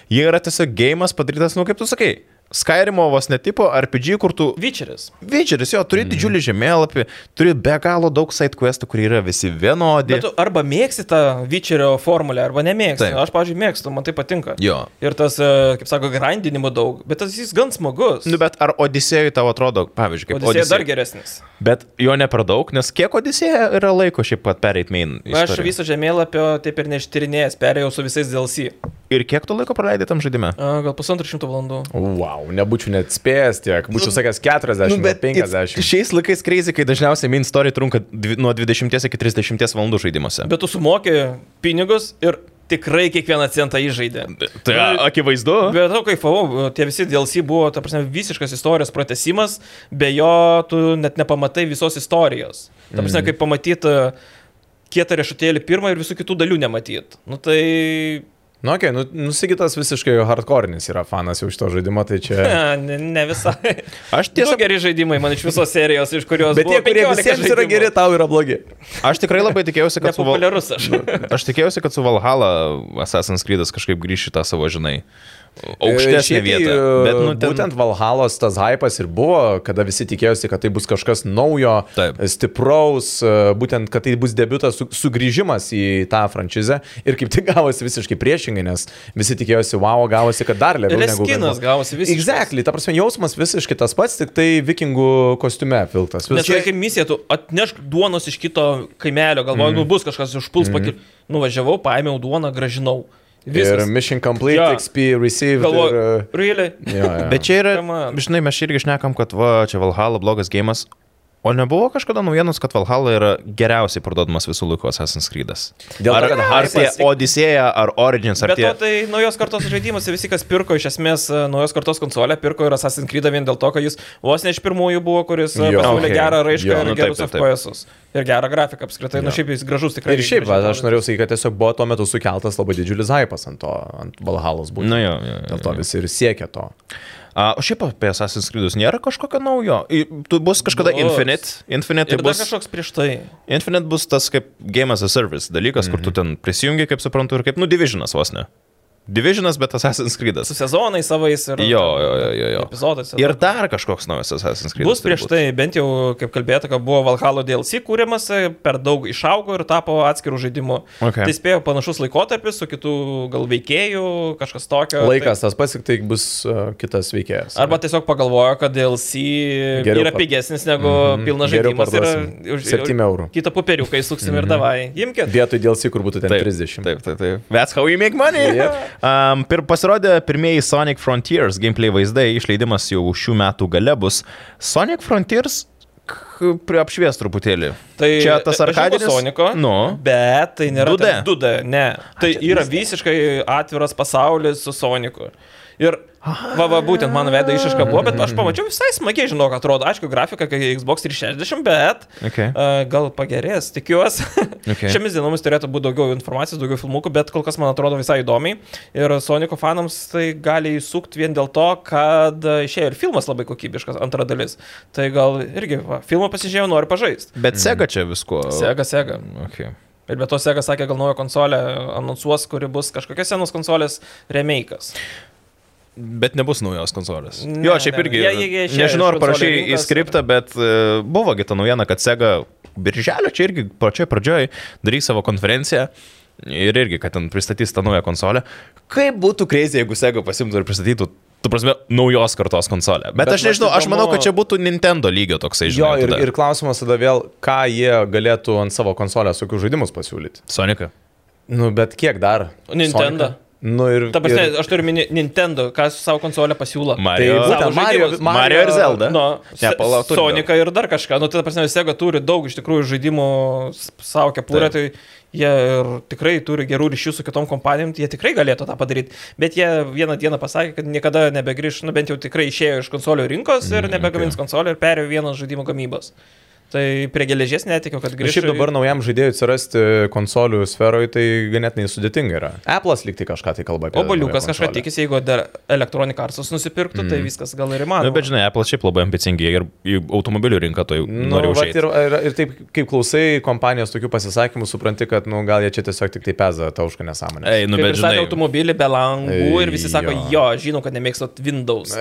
jie yra tiesiog gėjimas padarytas, nu kaip tu sakai. Skyrimo vos netipo RPG, kur tu
<laughs> Vyčeris.
Večeris, jo,
Mhm.
turi didžiulį žemėlapį, turi be galo daug side questų, kurie yra visi vienodi.
Bet tu arba mėgsti tą Vyčerio formulę, arba nemėgsti.
Taip.
Aš, pažiūrėjau, mėgstu, man tai patinka.
Jo.
Ir tas, e, kaip sako, grandinimo daug, bet tas jis gan smagus.
Nu, bet ar Odisėjui tau atrodo, pavyzdžiui, kaip
Odisėja dar geresnis.
Bet jo ne per daug, nes kiek Odisėja yra laiko šiaip pat pereit main.
Na, aš
istorijai?
viso žemėlapio taip ir neištyrinėjęs, perėjau su visais DLC.
Ir kiek tu laiko praleidai tam žaidime?
A, Gal pusantro šimto valandų.
Wow, nebūčiau net spėjęs tiek, būčiau sakęs 40, nu,
it's-
50.
Šiais laikais kreizį, kai dažniausiai main story trunka dvi, nuo 20 iki 30 valandų žaidimuose.
Bet tu sumokė pinigus ir tikrai kiekvieną centą įžaidė.
Tai a, akivaizdu.
Bet to kaifavau, tie visi DLC buvo, ta prasme, visiškas istorijos pratesimas, be jo tu net nepamatai visos istorijos. Ta prasme,
Mhm.
mm. kaip pamatyti kietą riešutėlį pirmą ir visų kitų dalių nematyt. Nu tai...
Nu, okay, nu, nusigytas visiškai hardcore'nis yra fanas jau šito žaidimo, tai čia...
<laughs> Ne, ne- ne visai.
Aš
Tiesa,
tiesiog
geri žaidimai man iš visos serijos, iš kurios...
Bet tie,
buvo
kurie
15
visiems yra
žaidimų.
geri, tau yra blogi.
Aš tikrai labai tikėjausi, kad su, Val...
Nepopuliarus aš.
aš tikėjausi, kad su Valhalla Assassin's Creed kažkaip grįši tą savo, žinai, aukštesnį
E, Šiaip,
vietą.
e,
Bet, nu, ten...
Būtent Valhalos tas hypas ir buvo, kada visi tikėjosi, kad tai bus kažkas naujo,
Taip.
stipraus, e, būtent, kad tai bus debiutas, su- sugrįžimas į tą franšizę. Ir kaip tik gavosi visiškai priešingai, nes visi tikėjosi, wow, gavosi, kad dar labiau negu... kad
Leskinas
buvo.
gavosi visiškai.
Exactly, ta prasme, jausmas visiškai tas pats, tik tai vikingų kostiume filtras.
Nes čia kaip misija, tu atnešk duonos iš kito kaimelio, galvoju, mm. nu bus kažkas užpuls, mm. pakil... nuvažiavau, paėmiau duoną, gražinau.
Ir
Viskas.
Mission Complete,
Jo.
yeah. XP Received. Ir,
Galvoju,
e,
really? <laughs>
jo, jo.
bet čia yra,
Come on.
žinai, mes čia irgi šnekam, kad va, čia Valhalla blogas gėjimas. O nebuvo kažkada naujienos, kad Valhalla yra geriausiai parduodamas visų laikų Assassin's Creed'as.
Dėl to,
Ar,
kad
ar tie
hypas-
Odisėja, ar Origins, ar
Bet
tie...
to tai naujos kartos žaidimas, visi, kas pirko iš esmės e, naujos kartos konsolę, pirko ir Assassin's Creed vien dėl to, kad jis vos ne iš pirmųjų buvo, kuris e,
Jo.
pasiūlė
Okay.
gerą
Jo,
raišką ir
nu taip,
gerus
taip, taip.
FPS-us. Ir gerą grafiką apskritai, nu šiaip jis gražus tikrai.
Ir šiaip, va, aš
gražiai
norėjau sakyti, kad tiesiog buvo tuo metu sukeltas labai didžiulis hypas ant to, ant Valhalos būtent.
Nu, jo, jo, jo,
Dėl to visi ir siekia to.
A, o šiaip apie Assassin's Creed'us nėra kažkokio naujo. I- Tu bus kažkada
Bus.
bus. Infinite. Infinite,
Ir dar
tai bus,
kažkoks prieš tai.
Infinite bus tas kaip Game as a Service dalykas, mm -hmm. kur tu
Mhm.
ten prisijungi, kaip suprantu, ir kaip, nu, Divisionas vos ne. Divisionas, bet Assassin's Creed'as.
Su sezonais savais ir...
Jo, jo, jo, jo. jo.
Epizodas.
Ir dar kažkoks naujas Assassin's Creed.
Bus prieš tai, bent jau kaip kalbėta, kad buvo Valhalo DLC kūrimas, e, per daug išaugo ir tapo atskirų žaidimų.
Okay.
Tai spėjo panašus laikotarpis su kitų gal veikėjų, kažkas tokio.
Laikas tas pats, tik tai bus uh, kitas veikėjas.
Tai, arba tiesiog pagalvojo, kad DLC
Geriau
geriau yra
par- Mhm.
pigesnis negu mm -hmm. pilnas
Geriau
žaidimas.
parduosim.
Ir,
Septym eurų. Mhm.
Kita popieriukai suksim mm -hmm. ir davai. Imkite.
Vietoj dėl si, kur būtų ten
Taip,
30.
Taip, taip, taip. That's how you make money.
Yep.
<laughs> Um, pir, pasirodė pirmieji Sonic Frontiers gameplay vaizdai, išleidimas jau šių metų gale bus. Sonic Frontiers k- pri- apšvies truputėlį. čia tas
aš žinau
arkadinis.
Tai Soniko,
Nu.
bet tai nėra 2D.
2D.
2D ne. Tai yra visiškai atviras pasaulis su Soniku. Ir va, va, būtent mano veido išaiška buvo, bet aš pamačiau visai smagiai, žinau, kad atrodo, aišku, grafika, kai Xbox 360, bet
Okay.
a, gal pagerės,
<laughs>
tikiuosi.
Okay.
Šiomis dienomis turėtų būti daugiau informacijos, daugiau filmukų, bet kol kas man atrodo visai įdomiai. Ir Soniko fanams tai gali įsukti vien dėl to, kad a, išėjo ir filmas labai kokybiškas, antra dalis. Tai gal irgi, va, filmą pasižiūrėjau, noriu pažaisti.
Bet
Mm.
sega čia visko.
Sega, Sega.
Okay.
Ir be to Sega sakė, gal naują konsolę anonsuos, kuri bus kažkokios senos konsolės remake'as.
Bet nebus naujos konsolės.
Ne,
Jo, šiaip
ne,
irgi.
jie- jie- jie išėjo
nežinau, ar
iš konsolių
parašiai į
rinkos.
skriptą, bet e, buvo kita naujiena, kad Sega birželio čia irgi pačioje pradžioje darys savo konferenciją. Ir irgi, kad ten pristatys tą naują konsolę. Kaip būtų kreizė, jeigu Sega pasimtų ir pristatytų, tu prasme, naujos kartos konsolę. Bet,
Bet
bet aš nežinau,
vat
aš manau,
įdomu-
kad čia būtų Nintendo lygio toksai
Jo,
žaidimas.
ir, ir klausimas tada vėl, ką jie galėtų ant savo konsolės tokius žaidimus pasiūlyti.
Sonika.
Nu, bet kiek dar?
Nintendo.
Sonicą? Nu ir...
Ta prasme,
ir...
aš turiu mini Nintendo, ką su savo konsolė pasiūlo.
Tai
Mario.
Savo
būtent Mario,
žaidimus.
Mario Tai ir Zelda.
Nu,
Ne, palauk, turi
Sonika ir dar kažką. Nu, tai ta prasme, Sega turi daug iš tikrųjų žaidimų s- savo kepurę, tai jie ir tikrai turi gerų ryšių su kitom kompanijom, tai jie tikrai galėtų tą padaryti. Bet jie vieną dieną pasakė, kad niekada
Mm,
nebegrįš, nu bent jau tikrai išėjo iš konsolių rinkos ir nebegamins konsolių ir perėjo vienos žaidimų gamybos. Tai prie geležies netikiu,
Nu,
kad
Ir
grįšiu.
Nu, šiaip dabar naujam žaidėjui atsirasti konsolių sferoje, tai ganėtinai sudėtinga yra. Apple'as likti kažką tai kalba apie.
Obaliukas
naują
kažką
konsolę.
tikisi, jeigu dar Electronic Arts nusipirktų,
Mhm.
tai viskas gal ir
Na,
įmanoma.
Nu, bet žinai, Apple šiaip labai ambicingi ir į automobilių rinką to jau
Nu,
nori
vat ir,
užėti.
ir, ir taip, kaip klausai kompanijos tokių pasisakymų, supranti, kad, nu, gal jie čia tiesiog tik tai peza taušką <laughs> nesąmonę.
Ei, nu,
Kaip
bet
ir sakė,
žinai.
automobilį be langų ir visi sako,
Jo.
jo, žinau, kad nemėgstat Windows.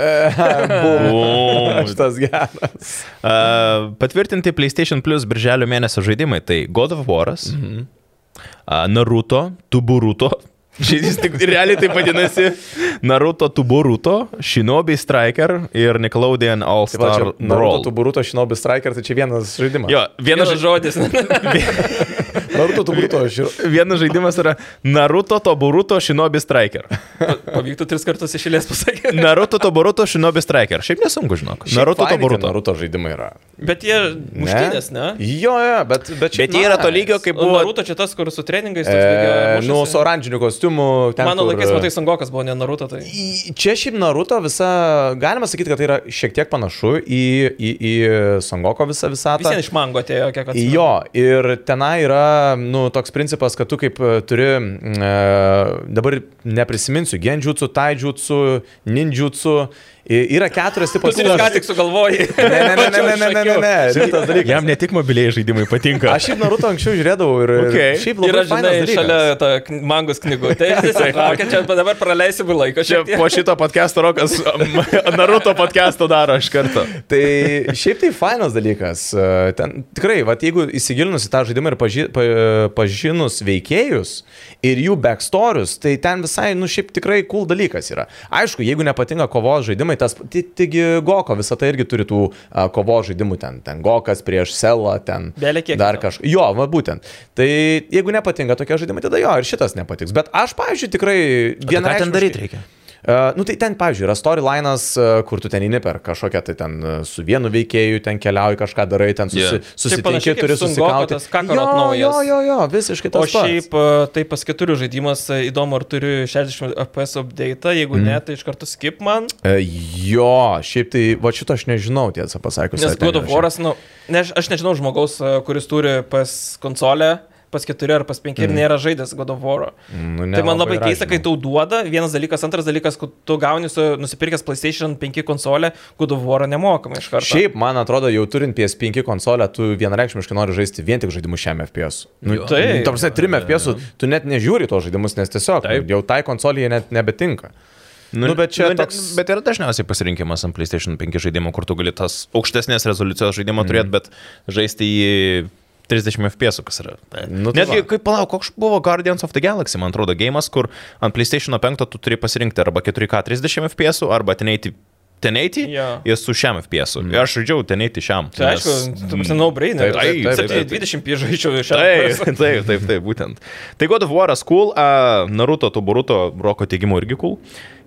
<laughs>
Bum.
Šitas geras.
A, patvirtinti PlayStation Plus birželio mėnesio žaidimai - tai God of Waras,
Mhm.
mm -hmm. Naruto, Tuburuto. <laughs> Šis tik realiai taip vadinasi. Naruto Tuburuto, Shinobi Striker ir Nickelodeon All
Taip pat,
Star
Tai Naruto
Brawl.
Tuburuto Shinobi Striker, tai čia vienas žaidimas.
Jo, vienas,
Vienas
ža
žodis.
Naruto
<laughs>
Tuburuto Shinobi.
vienas žaidimas yra Naruto Toburuto Shinobi Striker.
<laughs> Pavyktų tris kartus išėlės pasakyti.
Naruto Toburuto Shinobi Striker. Šiaip nesunku, žinok. Naruto Toburuto.
Naruto žaidimai yra.
Bet jie muštinės, ne?
Jo, jo, bet, bet
Bet jie yra to lygio, kaip
Buvo
buvo
Naruto čia tas, kur su treningais. toks
E,
lygiai
nu,
mušasi.
su oranžiniu kostiumu. Ten,
Mano
kur-
laikais, matai, Sangokas buvo ne Naruto, tai...
Į- Čia šiaip Naruto visa, galima sakyti, kad tai yra šiek tiek panašu į, į, į Sangoko visą visatą.
Visiems iš mango atėjo, kiek atsiprašau.
Jo, ir tenai yra, nu, toks principas, kad tu kaip e, turi, mm, e, dabar neprisiminsiu, genjutsu, taidžiutsu, ninjutsu, I- yra keturios tipos.
Pasiūlys, ką tik sugalvojai.
Ne, ne, ne, ne, ne, ne, ne, ne, ne, rimtas E, dalykas.
Jam ne tik mobiliai žaidimai patinka.
Aš šiaip Naruto anksčiau žiūrėdavau ir ir
Okay.
šiaip
Ir
labai
aš,
fainas
žinai,
dalykas.
šalia tą kn- mangos knygų.
<laughs>
Tai tiesiog laukia, čia bet dabar praleisim laiko.
Čia
šiek tiek.
po šito podcast'o Rokas um, <laughs> Naruto podcast'o daro iš karto.
Tai šiaip tai fainas dalykas. E, Ten, tikrai, va, jeigu įsigilinus į tą žaidimą ir paži, pa, pažinus veikėjus ir jų backstorius, tai ten visai, nu šiaip tikrai cool dalykas yra. Aišku, jeigu nepatinka kovos žaidimai, tas, ti- taigi Goko visą tai irgi turi tų a, kovos žaidimų ten, ten Gokas prieš Selą, ten
Bele kiek
dar
yra.
kažką. Jo, va būtent. Tai jeigu nepatinka tokie žaidimai, tada jo, ir šitas nepatiks. Bet aš, pavyzdžiui, tikrai
tai
vieną...
reikia?
Uh, nu tai ten, pavyzdžiui, yra storylinas, uh, kur tu ten eini per kažkokią, tai ten uh, su vienu veikėju, ten keliauji kažką darai, ten susi,
Jo.
Taip
yeah.
panašiai
susitinki,
kaip
turi
Sun
susikauti.
Gokotas, Kakarot naujas.
jo, jo, jo, visiškai
O
tas pats.
šiaip e, tai pas keturių žaidimas, e, įdomu, ar turiu 60 FPS update, jeigu
Mhm.
mm. ne, tai iš karto skip man.
E, Jo, šiaip tai, va šito aš nežinau, tiesą pasakius.
Nes
ar ten
God of
yra
War'as, nu, ne, aš- aš nežinau žmogaus, e, kuris turi PS konsolę, PS4 ar PS5
Mhm.
mm. ir nėra žaidęs God of War'o.
šiaip- Nu,
Ne, tai man labai
yra,
keista, kai
žinau.
tau duoda, vienas dalykas, antras dalykas, kad tu gauni su nusipirkęs PlayStation 5 konsolę, God of War'ą nemokamai iš karto.
Šiaip, man atrodo, jau turint PS5 konsolę, tu vienareikšmiškai nori žaisti vien tik žaidimus šiam FPS. Nu,
Jo. Tai- Taip.
Tam prasme, trim FPS, tu net nežiūri to žaidimus, nes tiesiog nu,
Taip.
jau tai konsolėje net nebetinka. Nu, nu, bet čia
ne-
toks...
Bet yra dažniausiai pasirinkimas ant PlayStation 5 žaidimų, kur tu gali tas aukštesnės rezoliucijos žaidimą
Mhm.
turėti, bet žaisti į 30 FPS, kas yra.
Nu, tai
Netgi,
va.
kaip palauk, koks buvo Guardians of the Galaxy, man atrodo, gėjimas, kur ant PlayStation 5 tu turi pasirinkti arba 4K 30 FPS, arba 1080. 1080
Jo.
ir su šiam FPS.
Mhm.
Mm. Aš žaidžiau 1080 šiam.
Tai aišku, tu prasme, no brainer.
Taip, taip, taip,
taip, taip.
20 piežaičiau iš
Taip, <laughs> taip, taip, taip, būtent. Tai God of War'as cool, uh, Naruto Tuburuto Roko teigimu irgi cool.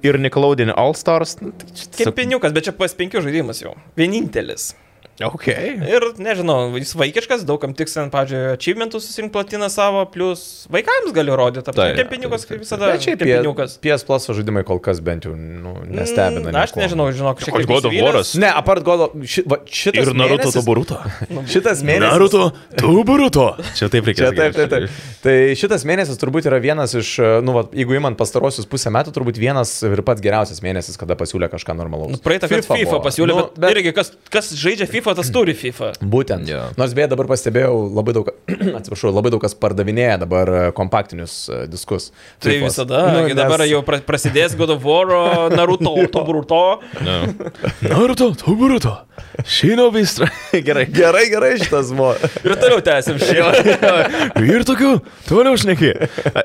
Ir Nickelodeon All Stars. nu, tai čia tiesiog-
Kempiniukas, bet čia PS5 žaidimas jau. Vienintelis.
Ok.
Ir nežinau, jis vaikiškas, daugam tiks ten, pavyzdžiui, achievementus susirinkti platiną savo, plus vaikams galiu rodyti.
Taip,
Kempiniukas kaip visada.
Bet šiaip PS,
kempiniukas.
PS Plus žaidimai kol kas bent jau nu, nestebina.
Mm, Aš
niekuo.
nežinau, žinok, šiek tiek.
Koks God of
nusivylęs.
War'as?
Ne, apart godo. Ši, va, šitas
Ir Naruto
mėnesis,
Tuburuto.
Šitas
<laughs>
mėnesis.
Naruto Tuburuto. Čia taip reikia.
Čia, taip, taip,
<laughs>
taip. Tai šitas mėnesis turbūt yra vienas iš, nu, va, jeigu įman pastarosius pusę metų, turbūt vienas ir pats geriausias mėnesis, kada pasiūlė kažką normalaus.
Nu, Praeitą kartą FIFA, FIFA
buvo.
pasiūlė,
Nu,
nu, bet, bet irgi kas, kas žaidžia FIFA, tas turi FIFA. Tai
Būtent.
Jo.
Yeah. Nors beje dabar pastebėjau, labai daug, <clears throat> atsiprašau, labai daug kas pardavinėja dabar e, kompaktinius e, diskus.
Tai
Fifos.
visada, nu,
nes-
dabar jau pra- prasidės God of War, Naruto, Tobruto.
Naruto Tuburuto. Shinobi Stra. Gerai.
<laughs> Gerai, gerai šitas
<laughs>
buvo.
Ir toliau tęsim
<laughs>
šį. <laughs>
ir tokių, toliau šneki.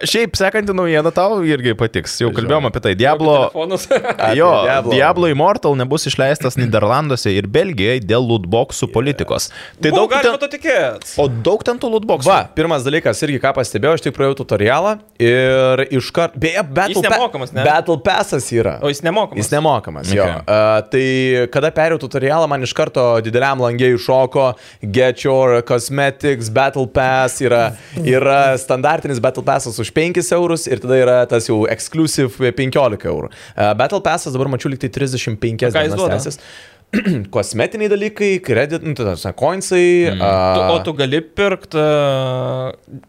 Šiaip sekanti naujiena tau irgi patiks. Jau kalbėjom apie tai. Diablo
Telefonus.
Jo,
Diablo.
Diablo. Diablo Immortal nebus išleistas Niderlanduose ir Belgijoje dėl lootboxų politikos. Tai
Daug
daug
galima
ten,
to tikėtis.
o daug ten tų lootboxų.
Va, pirmas dalykas, irgi ką pastebėjau, aš tik praėjau tutorialą ir iš karto... Beje, Battle,
nemokamas, ne?
Battle Passas yra.
O jis nemokamas.
Jis nemokamas. Jo.
Okay.
Uh, tai kada perėjau tutorialą, man iš karto dideliam langėjui šoko Get Your Cosmetics Battle Pass, yra, yra standartinis Battle Passas už 5 eurus ir tada yra tas jau exclusive 15 eurų. Uh, Battle Passas dabar mačiau liktai 35
ką jis
dienas
duoda?
tęsis. <clears throat> kosmetiniai dalykai, kredit, nu, tada, žinai, coinsai. Mm.
Tu, o tu gali pirkti,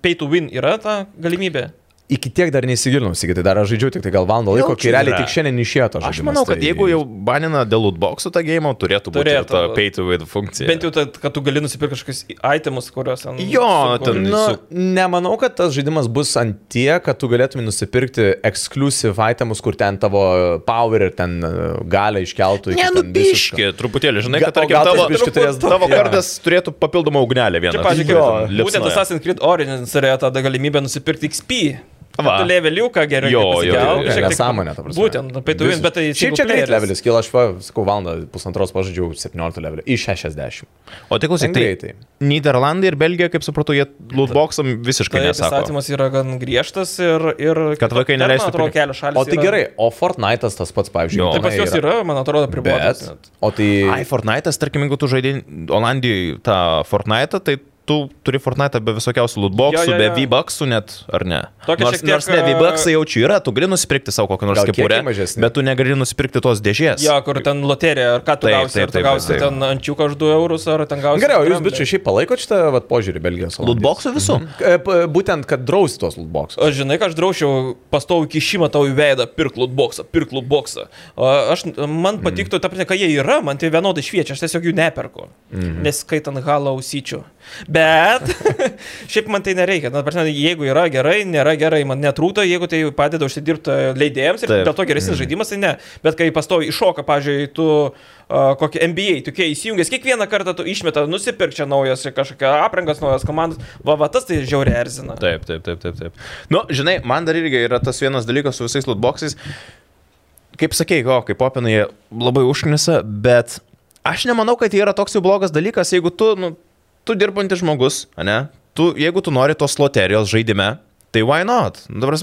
pay to win yra ta galimybė.
Iki tiek dar neįsigilinau, tai dar aš žaidžiu tik tai gal valandą laiko,
čia
kai realiai
yra.
tik šiandien išėjo to žaidimas.
Aš manau, kad
tai-
jeigu jau banina dėl lootboxų tą gėjimą, turėtų būti
Turėtų
turėtų. ta
būt.
pay to win funkcija.
Bent jau, tad, kad tu gali nusipirkti kažkokius itemus, kuriuos ten.
Jo,
suku-
ten-
Nu,
su-
nemanau, kad tas žaidimas bus ant tie, kad tu galėtum nusipirkti exclusive itemus, kur ten tavo power ir ten e, galę iškeltų. iki
Ne,
ten
nu
visiško-
biški, truputėlį, žinai,
Ga-
kad
o
tarkim
gal tas
tavo,
biški turės daug,
tavo
jo.
kardas turėtų papildomą ugnelę vieną. tai
Čia, pažiūrėjau,
Lipsnoje.
būtent Assassin's Creed Origins turėjo tą galimybę nusipirkti XP.
Va.
Va. Tu leveliuką geriau.
Jo,
kad pasikelt,
jo, jo,
šiek
jo.
tiek-
Nesąmonė, ta prasme.
Būtent, pay to win, bet tai
Šiaip čia greit levelis, kyla aš, va, sakau, valandą pusantros pažaidžiau 17 levelį iš 60.
O tik klausyk,
Ten
tai
greitai.
Niderlandai ir Belgija, kaip supratau, jie lootboxam visiškai
Tai
nesako.
įstatymas yra gan griežtas ir... ir
Kad vaikai
ten, man
neleistų
Atrodo,
pirkti.
kelios šalis.
O tai
yra-
gerai, o Fortnite'as tas pats, pavyzdžiui.
Jo.
Tai
Japonai
pas juos yra, man atrodo,
Bet,
pribotas.
o tai...
Ai, Fortnite'as, tarkim, jeigu tu žaidži Olandijoje tą Fortnite'ą, tai tu turi Fortnite'ą be visokiausių lootboxų,
Jo, jo,
be
jo.
V-bucksų net, ar ne?
Tokia
nors,
šiek tiek,
nors ne,
a-
V-bucksai jau čia yra, tu gali nusipirkti savo kokią nors
Gal kiekiai
kepurę,
mažesni.
bet tu negali nusipirkti tos dėžės.
Ja, kur ten loterija, ar ką tu
Taip,
gausi,
taip,
ar tu
taip,
gausi
taip.
ten ančiuką už 2 eurus, ar ten gausi...
Gerai, o jūs,
ten-
bičiu, šiaip palaikot šitą vat, požiūrį Belgijos. Olandijos?
Lootboxų visų? Mhm.
E, p- Būtent, kad drausti tuos lootboxus.
Aš žinai, kad aš draušiau pastovų kišimą tau į veidą, pirk lootboxą, pirk lootboxą. O Aš, man patiktų, ta prasme, kai jie yra, man tai vienodai šviečia, aš tiesiog jų neperku. Mm. Neskaitant halo ausyčių. Bet šiaip man tai nereikia. Na, ta prasme, jeigu yra gerai, nėra gerai, man netrūta, jeigu tai padeda užsidirbti leidėjams ir
Taip.
Taip. dėl to geresnis mm. žaidimas, tai ne. Bet kai pastovi iššoka, pavyzdžiui, tu uh, kokį NBA, tu kai įsijungęs, kiekvieną kartą tu išmeta, nusipirk čia naujas kažkokia aprangas, naujas komandas, va, va tas tai žiauriai erzina.
Taip, taip, taip, taip, taip. Nu, žinai, man dar irgi yra tas vienas dalykas su visais lootboxais. Kaip sakei, o, kaip opinai, jie labai užknisa, bet aš nemanau, kad jie yra toks jau blogas dalykas, jeigu tu, nu, tu dirbantis žmogus, ne, tu, jeigu tu nori tos loterijos žaidime, tai why not? Dabar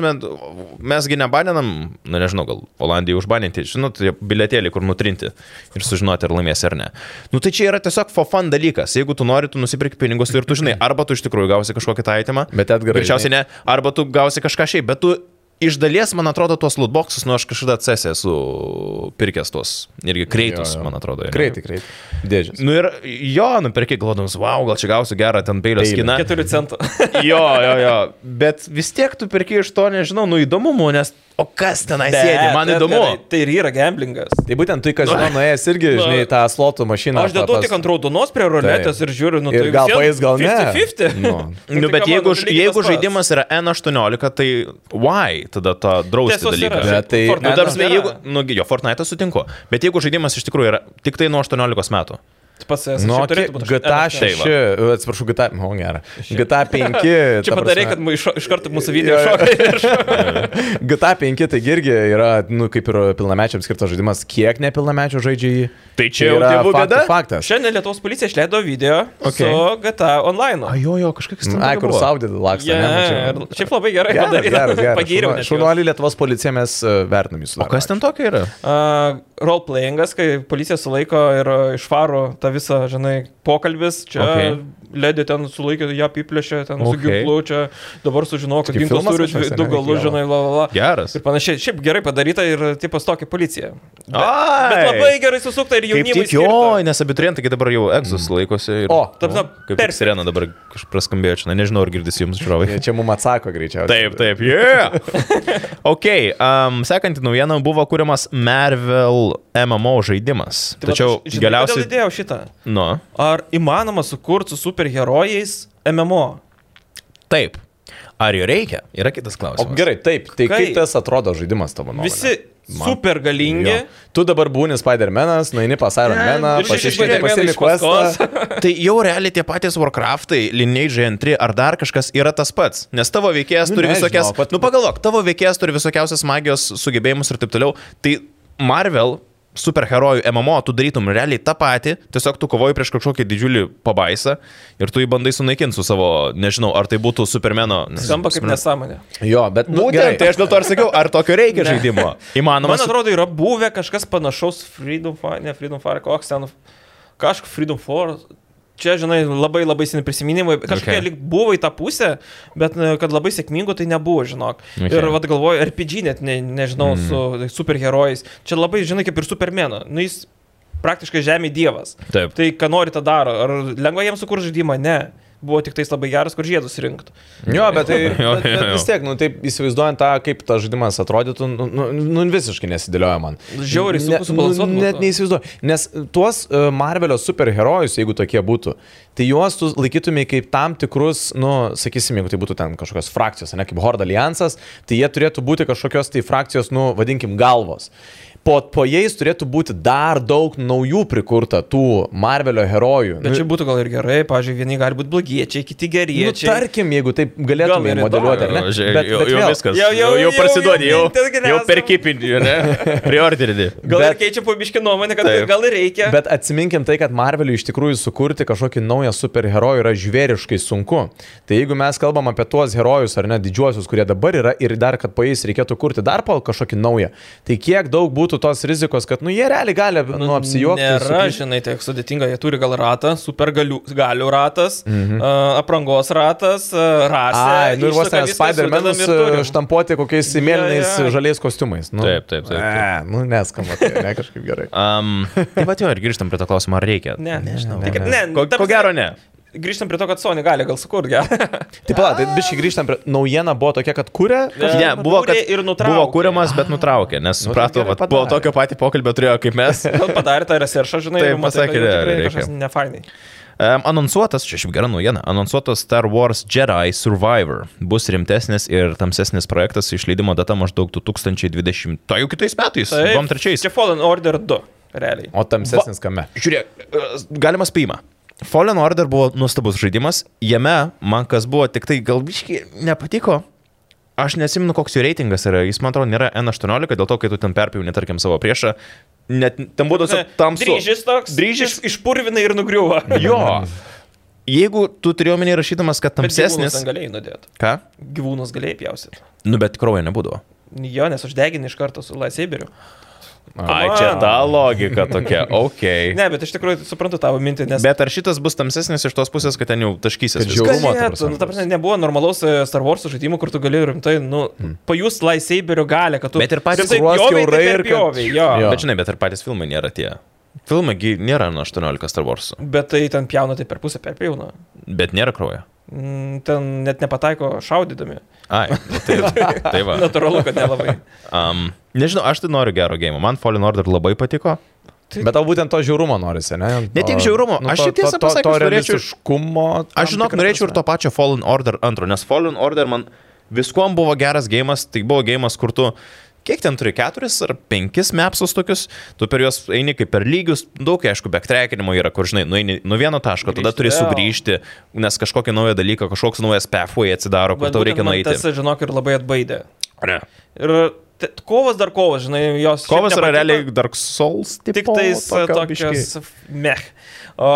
mesgi nebaninam, na nežinau, gal Olandijai užbaninti, žinot, tie bilietėlį, kur nutrinti ir sužinoti, ar laimės ar ne. Nu tai čia yra tiesiog for fun dalykas, jeigu tu nori, tu nusipirki pinigus ir tu žinai, arba tu iš tikrųjų gausi kažkokį tą įtimą,
Bet Edgarai,
Greičiausiai ne, arba tu gausi kažką šiaip, bet tu iš dalies, man atrodo, tuos lootboxus, nu aš kažkada CSS esu pirkęs tuos, irgi kreitus,
Jo, jo.
man atrodo. jie.
Greitai, greitai. Dėžės.
Nu ir jo, nupirki glodams, wow, gal čia gausiu gerą ten peilio
Peilį.
skiną.
4 centų.
Jo, jo, jo, bet vis tiek tu pirki iš to, nežinau, nu įdomumu, nes o kas tenai sėdi, man
Bet,
įdomu.
gerai, Tai ir yra gamblingas.
Tai būtent tai, kas žinau, nuėjęs irgi, žinai, tą slotų mašiną.
Nu. Aš dedu tik ant raudonos prie ruletės
Taip.
ir žiūriu, nu
Ir
tai
gal
vis vien
paeis, gal ne.
50-50.
Nu.
Nu,
Nu,
tai come
bet
on,
jeigu,
nu, lygiai
jeigu
tas pats.
žaidimas yra N18, tai why tada tą drausti
Tiesos yra.
dalyką?
Bet tai-
Fortnite'as
Nu, ta prasme,
nėra.
jeigu, nu, jo, Fortnite sutinku, bet jeigu žaidimas iš tikrųjų yra tik tai nuo 18 metų.
Pats esi,
Nu,
šiaip
kiek
turėtų būti
GTA
aštuoni.
šeši.
6, atsiprašau, GTA, o gera. GTA
<laughs>
5.
Čia
ta
padarė,
prasme- <laughs>
kad mu iš, iš karto mūsų video
Jo, jo.
šoka. ir šoka.
GTA 5 tai irgi yra, nu, kaip ir pilnamečiams skirtas žaidimas, kiek nepilnamečių žaidžia jį.
Tai čia jau tėvų
fakt-
bėda?
faktas.
<laughs> Šiandien Lietuvos policija išleido video su
Okay.
GTA online.
jo, jo, kažkoks
Mm, Ai, kur saudė laksta.
Yeah, ir šiaip labai gerai padaryta. <laughs> Pagiriau. net juos.
Šunuolį Lietuvos policija mes e, vertinam jūsų.
O kas ten tokia yra?
Uh, roleplayingas, kai policija sulaiko ir uh, išvaro tą visą, žinai, pokalbis, čia okay.
Okay.
ledė ten sulaikė, ją apiplėšė, ten okay. su
Okay.
ginklu, čia dabar sužinojau, kad
Čia kaip
ginklas
filmas
turi
kažkoks,
dvi-
ane,
du galus,
reikėjo.
žinai, la, la, la.
Geras.
Ir panašiai, šiaip gerai padaryta ir tipas tokia policija.
Ai,
Bet labai gerai susukta ir
Kaip
jaunimui.
tik jo,
skirta.
nes abiturientai kai dabar jau egzus laikosi. Ir... Nu,
O,
ta prasme,
kaip per
perfect.
sireną dabar kažkaip praskambėjo čia, na, nežinau, ar girdisi jums žiūrovai.
Čia mums atsako greičiausiai.
<laughs> Taip, taip, yeah. ok, um, sekanti naujiena buvo kuriamas Marvel MMO žaidimas.
Tai vat
Tačiau
aš- žinai,
galiausiai...
Kodėl įdėjau šitą?
Nu,
Ar įmanoma sukurti su superherojais MMO?
taip. Ar jo reikia? Yra kitas
O
klausimas.
gerai, taip. Tai
Kai-
kaip tas atrodo žaidimas tavo nuomonė?
Visi supergalingi.
Jo. Tu dabar būni Spider-Man'as, nueini pas Iron Man'ą,
Ir šiaip
pasiškai
Spider-Maną
pasiimi
iš paskos.
questą.
Tai jau realiai tie patys Warcraftai, Lineage 2 ar dar kažkas yra tas pats, nes tavo veikėjas
Nu,
turi
ne,
visokias...
žinau, pat-
Nu pagalvok, tavo veikėjas turi visokiausias magijos sugebėjimus ir taip toliau. Tai Marvel superherojų MMO, tu darytum realiai tą patį, tiesiog tu kovoji prieš kažkokį didžiulį pabaisą ir tu jį bandai sunaikinti su savo, nežinau, ar tai būtų Supermano. nes-
Skamba kaip nesąmonė.
Jo, bet nu,
Būtent, tai aš dėl to ir sakiau, ar tokio reikia
Ne.
žaidimo.
Nu, Man
Įmanoma. su-
atrodo, yra buvę kažkas panašaus Freedom Fire, ne Freedom Fire, koks ten, kažkoks Freedom Fire. Čia, žinai, labai labai seni prisiminimai. Kažkokie
Okay.
okay. lik buvo į tą pusę, bet e, kad labai sėkmingo tai nebuvo, žinok.
Okay.
Okay. Ir vad galvoju,
Mhm.
RPG net ne, nežinau, mm. su superherojais. Čia labai, žinai, kaip ir Supermeno. Nu, jis praktiškai žemė dievas.
Taip.
Tai ką nori, tą daro. Ar lengva jiems sukurti žaidimą? Ne. Buvo tik tais labai geras, kur žiedus rinktų.
Jo, bet tai
Jo,
bet, bet
jo, jo.
vis tiek, nu, taip įsivaizduojant tą, kaip tas žaidimas atrodytų, nu, nu, nu visiškai nesidėlioja man.
Žiauriai sunku
nu,
subalansuot būtų.
Net neįsivaizduoju. Nes tuos e, Marvelio superherojus, jeigu tokie būtų, tai juos tu laikytumai kaip tam tikrus, nu, sakysim, jeigu tai būtų ten kažkokios frakcijos, ne kaip Horde alijansas, tai jie turėtų būti kažkokios tai frakcijos, nu, vadinkim, galvos. Po, po jais turėtų būti dar daug naujų prikurta tų Marvelio herojų.
Bet čia būtų gal ir gerai, pažiūrėjau, vieni gali būti blogiečiai, kiti
Nu,
geriečiai.
tarkim, jeigu taip
Gal
galėtume
ir
modeliuoti, ar ne?
Jo, žiūrėk,
Bet,
jau,
bet
jau
vėl,
viskas.
Jau- jau-
jau
jau-
parsiduodi, jau,
jau- ten
jau, jau
geriausia.
perkipinį, ne? Priordirinį.
Gal bet...
bet-
ir keičia pabiški nuomonę, kad
Taip.
Taip. gal ir <laughs> reikia.
Bet atsiminkim tai, kad Marveliui iš tikrųjų sukurti kažkokį naują superherojų yra žvėriškai sunku. Tai jeigu mes kalbam apie tuos herojus ar ne didžiuosius, kurie dabar yra ir dar, kad po jais reikėtų kurti dar po kažkokį naują, tai kiek daug būtų tos rizikos, kad, nu, jie realiai gali, nu, apsijuokti.
Nėra,
suklysti.
žinai, tiek sudėtinga, jie turi gal ratą, supergalių galių ratas, mhm. uh, aprangos ratas, uh, rasė.
Ai, nu ir vos
Išsuka
ten
viską,
Spider-Man'us
sudedam ir turim.
e, štampuoti kokiais mėlynais
jo.
e, žaliais kostiumais. Nu,
Taip, taip, taip, taip.
Ne, nu neskamba, tai ne kažkaip gerai.
<laughs>
Um, taip pat jo ir grįžtam prie to klausimo, ar reikia.
Ne, nežinau.
ne,
Ne,
ne.
ne, nu,
Ko,
ta
ko
prasme-
gero ne.
Grįžtam prie to, kad Sony gali gal sukurti gerą.
Taip, pala, tai biškai grįžtam prie naujiena buvo tokia, kad kūrė.
Ne, buvo, kad
Kūrė ir nutraukė. Nu, tai
buvo kūriamas, bet nutraukė, nes suprato,
gerai
vat po
padarė.
tokio patį pokalbio turėjo kaip
<laughs>
mes.
Gal padarė tą reseršą, žinai,
Taip,
ir matai, kad
pasakė,
jau
ne,
tikrai
reikia.
kažkas nefainai.
Um, anonsuotas, čia šiaip gera naujiena, anonsuotas Star Wars Jedi Survivor bus rimtesnis ir tamsesnis projektas, išleidimo data maždaug 2020. Tai jau kitais metais, 2023.
Čia Fallen Order 2, realiai.
O tamsesnis kame?
Žiūrėk, e, galima spėjimą. Fallen Order buvo nuostabus žaidimas, jame man kas buvo tik tai galbiškai nepatiko. Aš nesimenu, koks jų reitingas yra, jis man atrodo nėra N18, dėl to, kai tu ten perpjauni, tarkim, savo priešą, net ten būtų
<laughs>
tiesiog tamsu.
Dryžis toks.
Dryžis.
iš- Išpurvina ir nugriuva.
Jo. Jeigu tu turėjai omeny rašydamas, kad
Bet gyvūnus
tamsesnis...
ten galėjai nudėti.
Ką?
Gyvūnus galėjai pjausit.
Nu, bet kraujo nebūdavo.
Jo, nes aš deginu iš karto su Laiseberiu.
Ai, čia ta logika
<laughs>
tokia, ok.
Ne, bet iš tikrųjų suprantu tavo mintį, nes...
Bet ar šitas bus tamsesnis iš tos pusės, kad ten jau taškysis?
Kad
viskas?
žiaurumo, ta
Galėtų,
prasme,
nu, ta prasme, nebuvo normalaus e, Star Wars žaidimų, kur tu gali rimtai, nu,
Hmm.
pajust Laiseberio galę, kad tu...
Bet ir patys
rimtai
ruosk
pjovei,
kiaurai
tai
ir
per
kad-
pjovei, jo.
Jo.
jo.
Bet žinai, bet ir patys filmai nėra tie. Filmai gi nėra nuo 18 Star Wars,
Bet tai ten pjauna, tai per pusę perpjauna.
bet nėra kraujo.
Mm, Ten net nepataiko šaudydami.
Ai, nu tai, tai va.
Natūralu, kad nelabai.
<laughs>
Um, nežinau, aš tai noriu gero gėjimo. Man Fallen Order labai patiko.
Tai
Bet tau būtent to žiaurumo norisi, ne?
Tai-
nu,
Ne tiek žiaurumo, aš šiaip tiesą pasakius
to, to, to
norėčiau-
realistiškumo. tam
Aš žinok,
tikra
norėčiau ir
prasme.
to pačio Fallen Order antro, nes Fallen Order man viskuom buvo geras gėjimas, tai buvo gėjimas, kur tu... Kiek ten turi keturis ar penkis mepsus tokius, tu per juos eini kaip per lygius, daug aišku, backtrackinimo yra, kur žinai, nueini nuo vieno taško, tada
Grįžti
turi
vėl.
sugrįžti, nes kažkokia nauja dalyka, kažkoks naujas pathway atsidaro, kur
Bet
tau
būtent
reikia
man
nueiti.
Tas, žinok, ir labai atbaidė.
Ne.
Ir te- kovas dar kovas, žinai, jos... šiaip
Kovas yra
nepatiko.
realiai Dark Souls, tipo,
Tik tais
tokio
tokios.
biškį.
Meh. O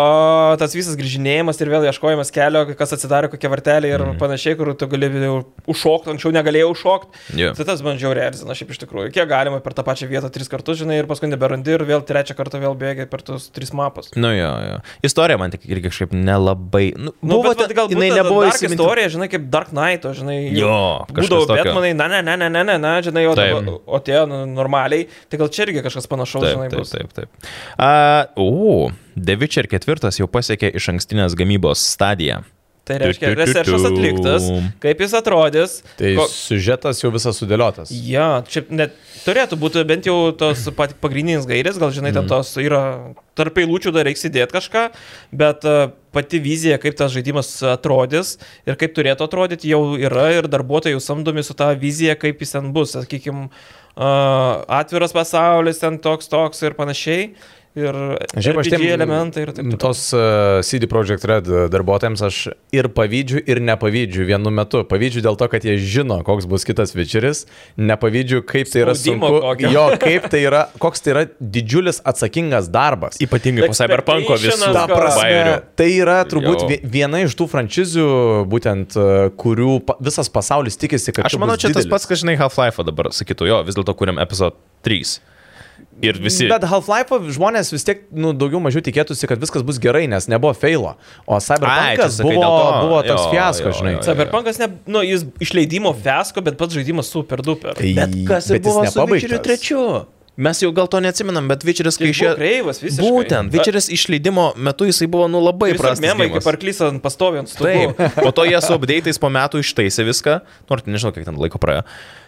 tas visas grįžinėjimas ir vėl ieškojimas kelio, kas atsidarė kokią vartelę ir
Mhm.
mm. panašiai, kur tu gali jau užšokti, anksčiau negalėjau užšokti.
Jo.
Tai tas man žiauriai erzina, šiaip iš tikrųjų. Kiek galima per tą pačią vietą tris kartus, žinai, ir paskui neberandi ir vėl trečią kartą vėl bėgi per tuos tris mapus.
Nu jo, jo. Istorija man tik irgi kažkaip nelabai. Nu,
Nu, buvo, bet,
ten-
bet galbūt
jinai nebuvo įsiminti.
istorija, žinai, kaip Dark Knight, žinai.
Jo, kažkas
būdavo
tokio.
Batmanai, na, ne, ne, ne, ne, ne, ne, žinai, o,
Taip.
dabar- o tie nu, normaliai, tai gal čia irgi kažkas panašaus,
Taip,
žinai,
taip,
bus.
taip. taip. A, o, The Witcher 4 jau pasiekė iš ankstinės gamybos stadiją.
Tai reiškia,
Tu, tu, tu,
researchas
tu.
atliktas, kaip jis atrodys.
Tai
ko-
siužetas jau visas sudėliotas.
Ja, čia net turėtų būti bent jau tos pat pagrindinės gairės, gal žinai, ten tos yra tarp eilučių dar reiks įdėti kažką, bet e, pati vizija, kaip tas žaidimas atrodys ir kaip turėtų atrodyti, jau yra ir darbuotojai jau samdomi su tą viziją, kaip jis ten bus, sakykime, atviras pasaulis, ten toks, toks ir panašiai. Ir
Žiūrėk, aš
RPG
tiem
elementai ir taip toliau.
Tos uh, CD Projekt Red darbuotojams aš ir pavydžiu, ir nepavydžiu vienu metu. Pavydžiu dėl to, kad jie žino, koks bus kitas večeris, nepavydžiu, kaip tai yra
Spaudimo
sunku.
kokio.
Jo, kaip tai yra, koks tai yra didžiulis atsakingas darbas.
Ypatingai po Cyberpunko visų
Expectations,
Ta
gal.
bairių.
prasme, tai yra turbūt
Jo.
vi- viena iš tų frančizių, būtent, e, kurių pa, visas pasaulis tikisi, kad
Aš manau, čia tas pats, kad žinai, Half-Life dabar sakytų, jo, vis dėlto kuriam epizod 3. Ir visi.
Bet Half-Life žmonės vis tiek nu, daugiau mažiau tikėtųsi, kad viskas bus gerai, nes nebuvo feilo. O
Ai, čia
Cyberpunkas
sakai
buvo,
dėl to.
buvo toks
Jo,
fiasko,
jo,
žinai.
jo, jo.
Cyberpunkas, ne, nu, jis išleidimo fesko, bet pats žaidimas super duper.
Tai-
Bet kas ir
bet jis
buvo su
nepabaigtas.
Witcheriu trečiu? Mes jau gal to neatsimenam, bet Vičeris, kai
Jis buvo kreivas visiškai.
Būtent, Vičeris išleidimo metu jisai buvo, nu, labai
Visas
prastas.
mėmai
geimas.
kaip arklys ant pastoviant
Taip,
stovėjo.
po to jie su update'ais po metų ištaisė viską, nors nežinau, kiek ten laiko praėjo.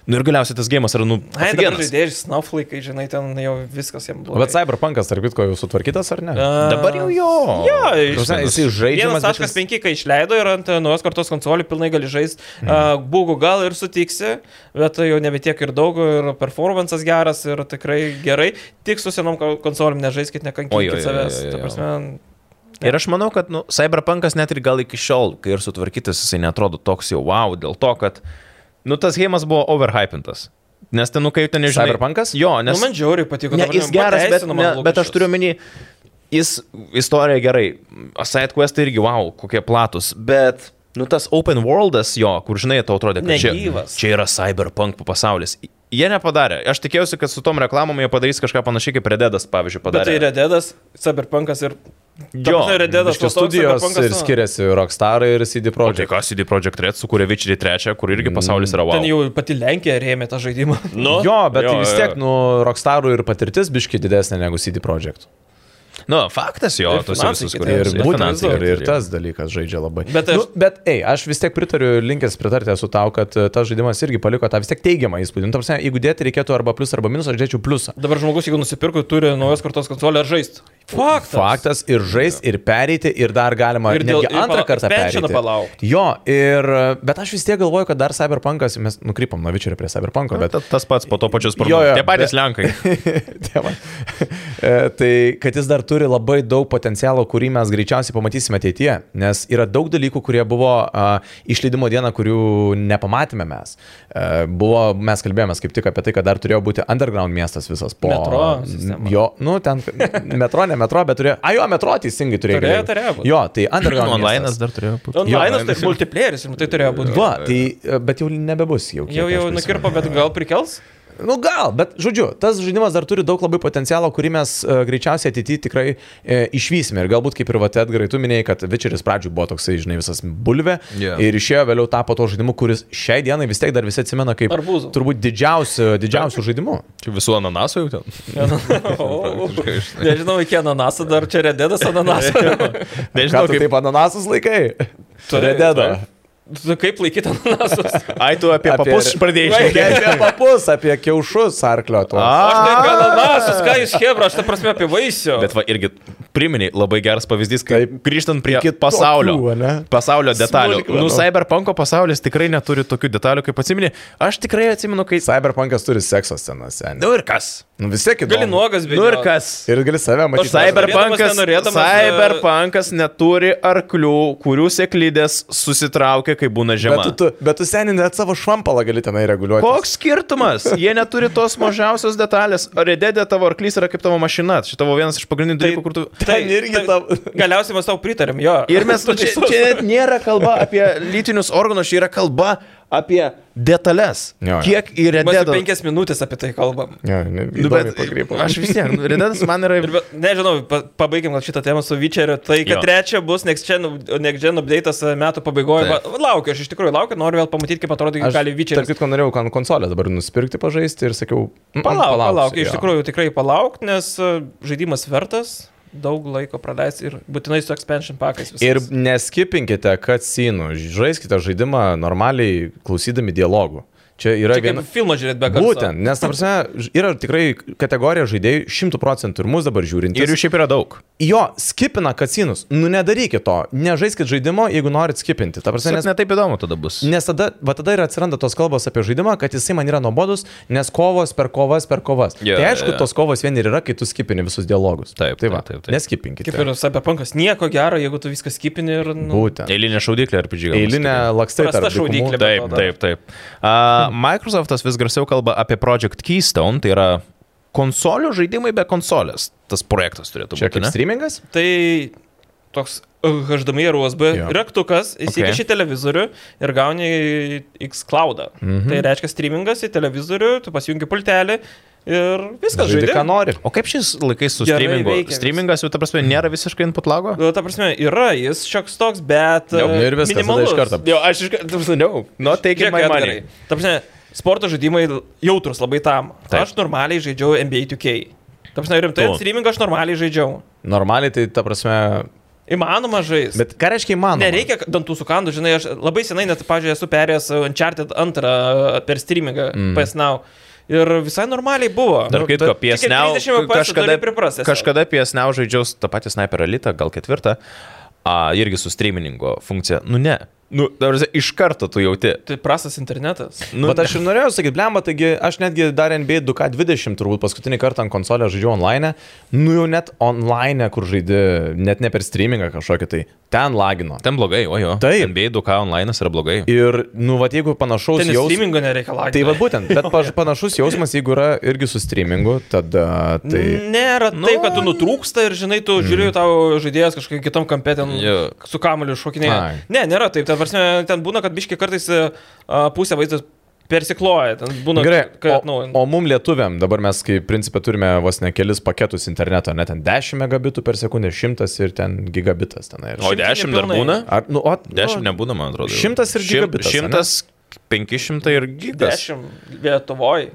Nu ir galiausiai tas gėjimas yra, nu,
Ai, dabar
afigenas.
žaidėjai, snowflake, žinai, ten jau viskas jiems
Bet
blogai.
Cyberpunkas, tarp kitko, jau sutvarkytas ar ne?
A,
Dabar jau jo.
Jo,
Ta prasme,
iš...
Jisai žaidžiamas. bet jis-
1.5, kai išleido ir ant e, naujos kartos konsolių pilnai gali žaisti.
Mhm.
Mm. Būgu gal ir sutiksi, bet jau nebe tiek ir daug, ir performances geras, ir tikrai gerai. Tik su senom ko- konsolium nežaiskit,
Oi, oi, oi,
nekankinkit savęs.
oi, oi,
Ta
oi.
prasme,
Ir aš manau, kad, nu, Cyberpunkas net ir gal iki šiol, kai ir sutvarkytas, jisai netrodo toks jau wow, dėl to, kad, nu, tas gėjimas buvo overhypintas. Nes ten, nu, kai jau ten nežinai.
Cyberpunkas?
Jo, nes...
Nes... Nu, man žiauriai patiko.
Ne,
ta prasme,
jis geras, bet,
pateisino mano
ne, bet aš
lūkesčius.
turiu menį, jis istorija gerai, side quest irgi, wow, kokie platus, bet, nu, tas open worldas jo, kur, žinai, tau atrodė, kad čia,
Negyvas.
čia yra cyberpunk pasaulis. Jie nepadarė. Aš tikėjausi, kad su tom reklamom jie padarys kažką panašiai kaip Rededas, pavyzdžiui,
Bet tai
padarė.
Rededas, Cyberpunkas ir... ta
Jo,
prasme, Rededas,
Biškį
tas toks
studijos
Cyberpunkas, nu,
ir
na,
skiriasi Rockstar ir
O
CD
tai
Projekt.
ką CD Projekt Red sukūrė Vičerį 3, kur
Mm,
irgi pasaulis yra wow.
Ten jau pati Lenkija rėmė tą žaidimą.
<laughs> Nu,
Jo, bet jo, vis tiek, nu, Rockstarų ir patirtis biški didesnė negu CD Projekt.
Nu, faktas jo,
Ir
tos
finansai
visos,
kiti.
kur
Tai Ir
Ir
būtent
finansai
ir, ir
Tai kiti.
tas dalykas žaidžia labai.
Bet aš-
nu, bet ei, aš vis tiek pritariu, linkęs pritarti esu tau, kad e, tas žaidimas irgi paliko tą vis tiek teigiamą įspūdį. Nu, ta prasme, Jeigu dėti reikėtų arba plius arba minus, aš dėčiau pliusą.
Dabar žmogus, jeigu nusipirko, turi naujos kartos konsolę ar žaisti. Faktas.
Faktas ir žais, ir pereiti, ir dar galima
Ir
ir
dėl-
netgi
ir
antrą
pala-
kartą
expansioną
pereiti.
palaukt.
Jo, ir, e, bet aš vis tiek galvoju, kad dar Cyberpunkas, mes nukrypom nuo Vičerio prie Cyberpunko, bet
Ta- Tas pats po to pačios
Jo, jo,
parduotuvės. Tie patys
bet-
Lenkai.
Dievą. E, tai kad jis dar turi labai daug potencialo, kurį mes greičiausiai pamatysime ateityje, nes yra daug dalykų, kurie buvo a, išleidimo dieną, kurių nepamatėme mes. E, buvo, mes kalbėjome kaip tik apie tai, kad dar turėjo būti underground miestas visas po
Metro sistema.
Jo, nu ten metro, ne metro, bet turėjo. A, jo, metro teisingai turėjo.
Turėjo,
galėjo.
turėjo būt.
<laughs> Jo, tai underground.
Online
miestas. Nu,
dar turėjo būti.
Online, tai multiplayeris, rimtai turėjo būti.
Va, tai, e, bet jau nebebus jau. kiek
Jau, jau
aš prisimenu.
nukirpo, bet gal prikels?
Nu gal, bet žodžiu, tas žaidimas dar turi daug labai potencialo, kurį mes uh, greičiausiai ateityje tikrai uh, išvysime. Ir galbūt kaip ir Vatet gerai, tu minėjai, kad Vičeris pradžioje buvo toksai, žinai, visas bulvė.
Jo.
Ir išėjo vėliau tapo to žaidimu, kuris šiai dienai vis tiek dar visi atsimena kaip
Arbūzų.
turbūt didžiausiu, didžiausiu žaidimu.
Čia visų ananasų jau
<laughs>
ten.
<laughs> O, <laughs> Nežinau, iki ananaso dar čia rededas ananaso.
Nežinau,
<laughs>
kaip
kaip ananasus laikai.
Taip,
Rededa.
Tu <laughs> kaip laikyti ananasus? <laughs>
Ai, tu apie, apie
Apie-
papus pradėjai šnekėti.
Apie papus, apie kiaušus arklio to.
Aš tai apie ananasus, ką jūs hebra, aš tą prasme apie vaisių.
Bet va irgi priminė labai geras pavyzdys, kaip
Taip.
grįžtant prie
Kitokių,
pasaulio,
ane?
pasaulio detalių.
Smulkmenų.
Nu, Cyberpunko pasaulis tikrai neturi tokių detalių, kaip atsimeni. Aš tikrai atsimenu, kai...
Cyberpunkas turi sekso scenas, seniai.
Nu ir kas?
Nu vis tiek įdomu.
Gali nuogas, bet...
Nu ir kas?
Ir gali save matyti.
Cyber-
Cyberpunkas,
norėdamas,
e-
norėdamas,
cyberpunkas neturi arklių, kurių sėklydės susitraukia, kai būna
Bet
žiema.
tu, tu, bet tu seniai net savo švampalą gali tenai reguliuoti.
Koks skirtumas? Jie neturi tos mažiausios detalės. Rededė tavo arklys yra kaip tavo mašina. Čia tavo vienas iš pagrindinių dalykų, kur tu...
Ten irgi tau-
Tai Galiausiai mes tau pritarėm, jo.
Ir mes, nu,
Tu
čia,
teisus.
čia net nėra kalba apie lytinius organus, čia yra kalba apie detalės.
Jo, jo.
Kiek į
Mes jau
rededą.
penkias minutės apie tai kalbam.
Ja, ne,
Nu,
įdomiai
bet
pakrypau.
Aš vis tiek, nu, rededas man yra...
Ir, be- nežinau, pa, pabaigiam gal šitą temą su Vyčeriu. Tai, kad
Jo.
jo. trečia bus Next Gen, Next Gen update'as e, metų pabaigoje.
Taip.
Va- Laukiu, aš iš tikrųjų laukiu, noriu vėl pamatyti, kaip atrodo, kaip gali
Tarp
Vyčeris.
kitko, norėjau kon- konsolę dabar nusipirkti, pažaisti ir sakiau, mm,
Palauk,
palauksiu,
palauk, iš
jo.
tikrųjų tikrai palauk, nes e, žaidimas vertas, daug laiko praleis ir būtinai su expansion pakais. visais.
Ir neskipinkite, kad sinų, žaiskite žaidimą normaliai klausydami dialogų. Čia yra
Čia kaip
viena...
filmą žiūrėt be garso.
Būtent, nes, ta prasme, ž- yra tikrai kategorija žaidėjų, šimtų procentų ir mus dabar žiūrint.
Ir jų šiaip yra daug.
jo skipina kacinus. Nu, nedarykit to. Nežaiskit žaidimo, jeigu norit skipinti. Ta prasme,
Nes
nes
netaip įdomu tada bus.
Nes tada, va tada ir atsiranda tos kalbos apie žaidimą, kad jisai man yra nuobodus, nes kovos per kovas per kovas.
Jo,
Yeah, tai aišku,
jo, jo.
yeah. tos kovos vien ir yra, kai tu skipini visus dialogus.
Taip,
tai va,
taip, taip, taip.
Neskipinkite.
Kaip ir Cyberpunkas, nieko gero, jeigu tu viską skipini ir... Nu,
Būtent.
Eilinė šaudyklė ar pidžiai.
Eilinė lakstai
Prasta
tarp dykumų.
šaudyklė.
Taip, taip, taip. Uh, Microsoftas vis garsiau kalba apie Project Keystone, tai yra konsolių žaidimai be konsolės. Tas projektas turėtų
Čia
būti.
kaip
ne?
streamingas?
Tai toks HDMI ir USB
Jo.
yeah. raktukas, įsikiši
Okay.
okay. televizorių ir gauni X cloudą. Mm
Mhm.
-hmm. Tai reiškia streamingas į televizorių, tu pasijungi pultelį ir viskas
Žaidi, ką
žaidži.
nori.
O kaip šis laikais su
Gerai
streamingu?
veikia vis-
Streamingas jau, ta prasme, nėra visiškai input lago?
Nu, Ta prasme, yra jis šioks toks, bet...
Jo, nu
e,
ir viskas, tada iš
minimalus.
karto.
Jo, aš iš karto, tu žinau, no take
Žiūrėk,
my
Edgarai,
money.
ta prasme, sporto žaidimai jautrus labai tam.
Taip.
Taip. Aš normaliai žaidžiau NBA 2K. Taip, žinai, rimtai,
Tu.
streamingą aš normaliai žaidžiau.
Normaliai tai ta prasme.
Įmanoma žaisti.
Bet ką reiškia įmanoma?
Nereikia dantų sukandų, žinai, aš labai senai net, pažiūrėjau, esu perėjęs Uncharted 2 per streamingą mm. PSNOW. Ir visai normaliai buvo.
Dar
Nu,
kitko,
bet tik
piesniau.
30 FPS
Kažkada,
turi priprast tiesiog.
kažkada piesniau žaidžiau s- tą patį sniper elitą, gal ketvirtą, a, irgi su streamingo funkcija. Nu ne. Nu, dabar iš karto tu jauti.
Tai prastas internetas.
Nu,
Nu, Bet aš ir norėjau sakyti, blemba, taigi aš netgi dar NBA 2K20 turbūt paskutinį kartą ant konsolę žaidžiau online, nu jau net online, kur žaidži, net ne per streamingą kažkokį tai, ten lagino.
Ten blogai, ojo.
Taip.
NBA 2K online yra blogai.
Ir, nu, va, jeigu panašaus
Ten
jaus-
streamingo nereikalauja.
Tai va būtent, bet
<laughs>
paž- panašus jausmas, jeigu yra irgi su streamingu, tada tai...
Nėra nu, taip, kad tu nutrūksta ir žinai, tu mm. žiūrėjai tavo žaidėjas kažkokiam kitam kampe ten
Jo.
yeah. su kamuliu šokinėje.
Ai.
Ne, nėra taip. Ten, prasme, ten būna, kad biški kartais e, a, pusę vaizdas persikloja. Ten būna,
Gerai,
Mm, nu, kad
o,
atnaujina.
o mum lietuviam dabar mes kaip principė turime vos ne kelis paketus interneto, net ten 10 megabitų per sekundę, 100 ir ten gigabitas tenai.
O
Šimtinį
10 dar
pilnai.
būna?
Ar, nu, o,
10
nu,
nebūna, man atrodo. jau.
šimtas ir
Šim-
gigabitas, ane?
Šimtas, 500 ir gigas.
10 Lietuvoje.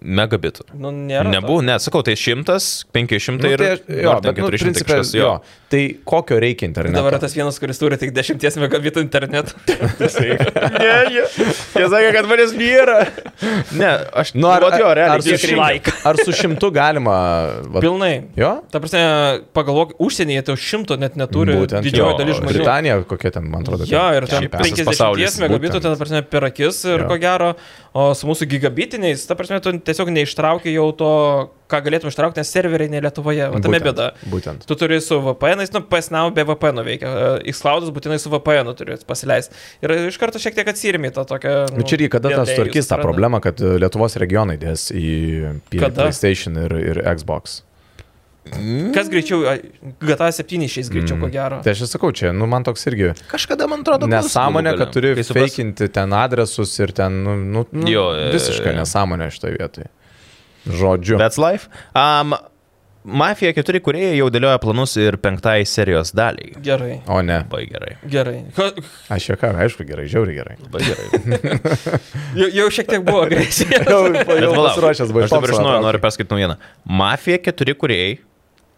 Megabitų.
Nu, nėra. to.
Nebūna, ne, sakau, tai 100, 500
Nu,
ir
tai, aš- jo,
ar ten
bet, nu,
400
principe,
kažkas,
jo. Tai kokio reikia interneto?
Dabar yra tas vienas, kuris turi tik 10 megabitų internetą.
<laughs> Ne, jie, jie sakė, kad manęs nėra. Ne, aš
Nu, ar,
vat jo, realiai,
ar, su
kiek
šimtu,
reikia? Like.
ar su šimtu galima... Vat,
Pilnai.
jo?
Ta prasme, pagalvok, užsienyje tai šimto net neturi
Būtent,
didžioji
jo,
dalis žmonių.
Britanija kokia ten, man atrodo.
Jo, ir ten
Šiaip visas
50
pasaulis,
megabitų,
būtent.
ten, ta prasme, per akis ir
Jo.
jo. ko gero, o su mūsų gigabitiniais, ta prasme, tu tiesiog neištraukiai jau to, ką galėtum ištraukti, nes serveriai ne Lietuvoje, o tame
Būtent,
bėda.
būtent.
Tu turi su VPN, nu, PSNAU be VPN veikia, Xcloudas būtinai su VPN turi pasileisti. Ir iš karto šiek tiek atsirimi tą tokią... Nu,
Bet čia irgi kada tas
delay
tvarkys tą
atsiranda.
problemą, kad e, Lietuvos regionai dės į P-
Kada?
PlayStation ir, ir Xbox.
Kas greičiau, ai, GTA 7 išeis greičiau, ko gero.
Tai aš ir sakau, čia, nu, man toks irgi
Kažkada man atrodo, bus
nesąmonė,
galų gale.
kad turi
Kai supras-
feikinti ten adresus ir ten, nu, nu, nu
Jo, e, jo, jo,
visiškai
jo.
nesąmonė šitoje vietoje. Žodžiu.
That's life. Um, Mafija 4 kuriejai jau dėlioja planus ir penktai serijos daliai.
Gerai.
O ne,
Labai gerai.
Gerai. Ka-
aš juokau, aišku, gerai, žiauri
<laughs>
gerai.
Labai gerai.
Jau, jau šiek tiek buvo agresija.
Bet palauk,
pasiruošęs buvau.
Aš dabar žinau, noriu perskaityti naujieną. Mafija 4 kuriejai.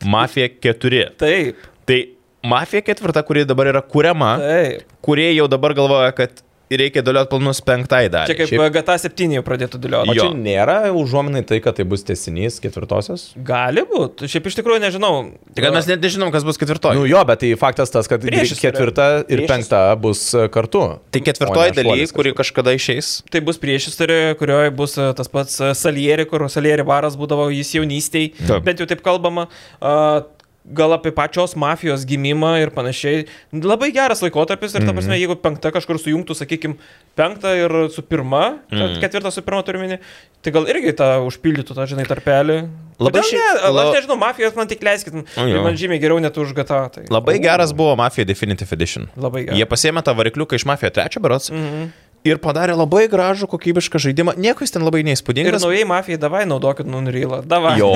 Mafija 4.
Taip,
Tai Mafija 4, kuri dabar yra kuriama,
taip.
kurie jau dabar galvoja, kad reikia dėlioti planus penktai
Čia
daliai.
kaip
šiaip-
GTA 7 jau pradėtų
O
dėlioti.
Jo.
čia nėra užuominai tai, kad tai bus tesinys ketvirtosios?
Gali būti. Šiaip iš tikrųjų nežinau.
Tik Tai kad mes net nežinom, kas bus ketvirtoji.
Nu jo, bet tai faktas tas, kad
Priešistorė.
ketvirta ir
Priešistorė.
penkta bus e, kartu.
Tai
O
ketvirtoji
ne
dalyje,
šuolis
kuri kažkada išeis.
Tai bus priešistorė, kurioje bus e, tas pats e, salieri, kur salieri varas būdavo jis jaunystėj,
Taip.
bent jau taip kalbama. A, Gal apie pačios mafijos gimimą ir panašiai. Labai geras laikotarpis
Mhm.
ir, ta prasme, jeigu penkta kažkur sujungtų, sakykime, penktą ir su pirma,
Mhm.
mm. ketvirtą su pirma turminį, tai gal irgi tą užpildytų, tą, žinai, tarpelį.
Labai
Kodėl
šiaip-
ne,
la-
aš nežinau, mafijos man tik leiskit, tai
jo.
man žymiai geriau net už GTA. Tai.
Labai geras buvo Mafija Definitive Edition.
Labai geras. Mhm.
Jie pasėmė tą varikliuką iš Mafija 3 berots mm -hmm. ir padarė labai gražų, kokybišką žaidimą. Nieko jis ten labai
Ir
neįspūdingas.
naujai mafijai davai naudokit Nunrylą. Davai.
Jo,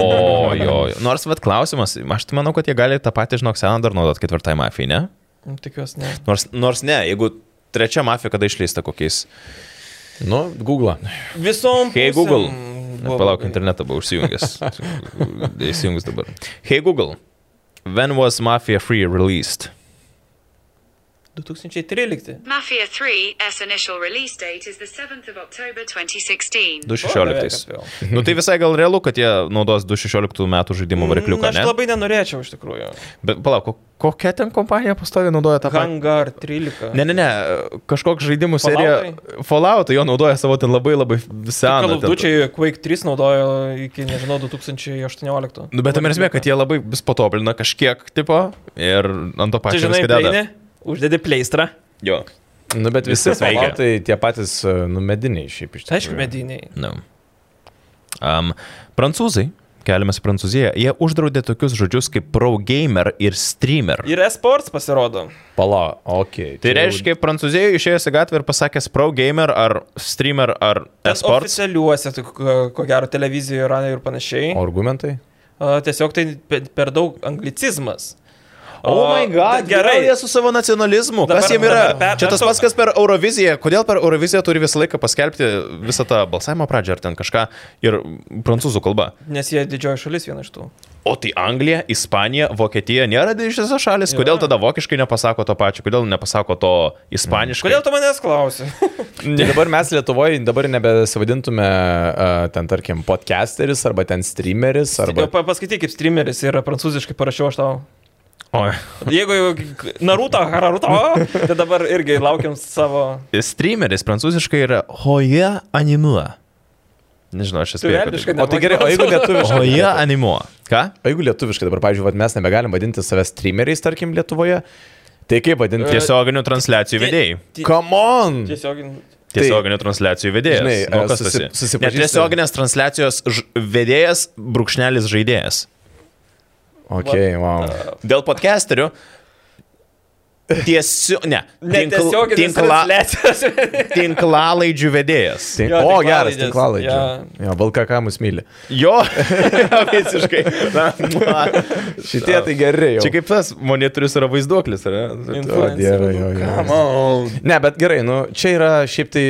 jo, jo. Nors, vad, klausimas, aš tai manau, kad jie gali tą patį, žinok, seną dar naudot ketvirtai mafijai, ne?
Nu, <laughs> Tikiuosi, ne.
Nors, nors ne, jeigu trečia mafija kada išleista kokiais.
Nu, Google.
Visom.
Hey
pusėm
Google.
buvo
Net Palauk,
blogai.
internetą buvau
<laughs>
užsijungęs. Įsijungus dabar. Hey Google, when was Mafia 3 released?
2013.
Mafia 3's initial release date is the 7th of October 2016.
2016. Nu tai visai gal realu, kad jie naudos 2016 metų žaidimų
Na,
varikliuką,
Mm, aš
ne?
labai nenorėčiau iš tikrųjų.
Bet palauk, ko- kokia ten kompanija pastovi naudoja tą patį?
Hangar 13.
Ne, ne, ne, kažkoks žaidimų serija
Falloutai?
Fallout, jo naudoja savo ten labai labai seną. ten-
Kalvdučiai Quake 3 naudojo iki, nežinau, 2018.
Nu, bet tam esmė, kad jie labai vis patobulina kažkiek tipo ir ant to
Čia,
pačio
žinai,
viską
prieini,
deda.
uždedi pleistrą.
Jo.
Nu, bet visi
Viskas veikia.
tai tie patys, e, nu, mediniai šiaip iš
Tai aišku, mediniai.
No. Um, Nu. prancūzai, keliamės į Prancūziją, jie uždraudė tokius žodžius kaip pro gamer ir streamer.
Ir esports pasirodo.
Pala, okei.
Tai reiškia, Prancūzijoje išėjęs į gatvę ir pasakęs pro gamer ar streamer ar
Ten
esports.
Oficialiuose, tai ko- ko gero, televizijoje, radioje ir panašiai.
O argumentai?
A, Tiesiog tai pe- per daug anglicizmas.
Oh my god, gerai.
Gerai.
Jie su savo nacionalizmu.
Dabar-
Kas jiem yra?
dabar per-
Čia tas
per-
pats, kas per Euroviziją. Kodėl per Euroviziją turi visą laiką paskelbti visą tą balsavimo pradžią ar ten kažką ir prancūzų kalba?
Nes jie didžioji šalis viena iš tų.
O tai Anglija, Ispanija, Vokietija nėra didžiosios šalis. Kodėl tada vokiškai nepasako to pačio? Kodėl nepasako to ispaniškai?
Kodėl tu manęs
<laughs>
klausi?
Tai dabar mes Lietuvoje dabar nebesivadintume uh, ten, tarkim, podcasteris arba ten streameris. Arba...
Pa- Paskaityk, kaip streameris yra prancūziškai parašiau aš tau.
Oi.
Jeigu jau k- Naruto, Hararuto, o, tai dabar irgi laukiam savo...
Streameris prancūziškai yra Hoja Animua. Nežinau, aš esu.
Tuveliškai,
O tai gerai, o jeigu lietuviškai.
Hoja Animua. Ką?
O jeigu lietuviškai dabar, pavyzdžiui, vat, mes nebegalim vadinti savęs streameriais, tarkim, Lietuvoje, tai kaip
E,
vadinti?
Tiesioginių transliacijų vedėjai.
Come on!
Tiesiog...
Tiesioginių transliacijų vedėjas.
Tai Žinai,
nu,
e,
kas
susi-
tu esi?
susipažįsti-
Ne, Tiesioginės transliacijos ž- vedėjas, brūkšnelis žaidėjas.
Ok, wow.
Dėl podcasterių. Tiesiog, ne.
Netiesioginis <laughs> transliacijas.
tinklalaidžių vedėjas.
Tink...
Jo,
Tai- o,
tinklalaidės,
geras, tinklalaidžiai.
jo.
Yeah. Jo, Valka, ką mus myli.
Jo, <laughs> visiškai. Na, na.
Šitie tai gerai. Jau.
Čia kaip tas monitorius yra vaizduoklis, ar ne?
O, dieve, jo, jo. Ne, bet gerai, nu, čia yra šiaip tai,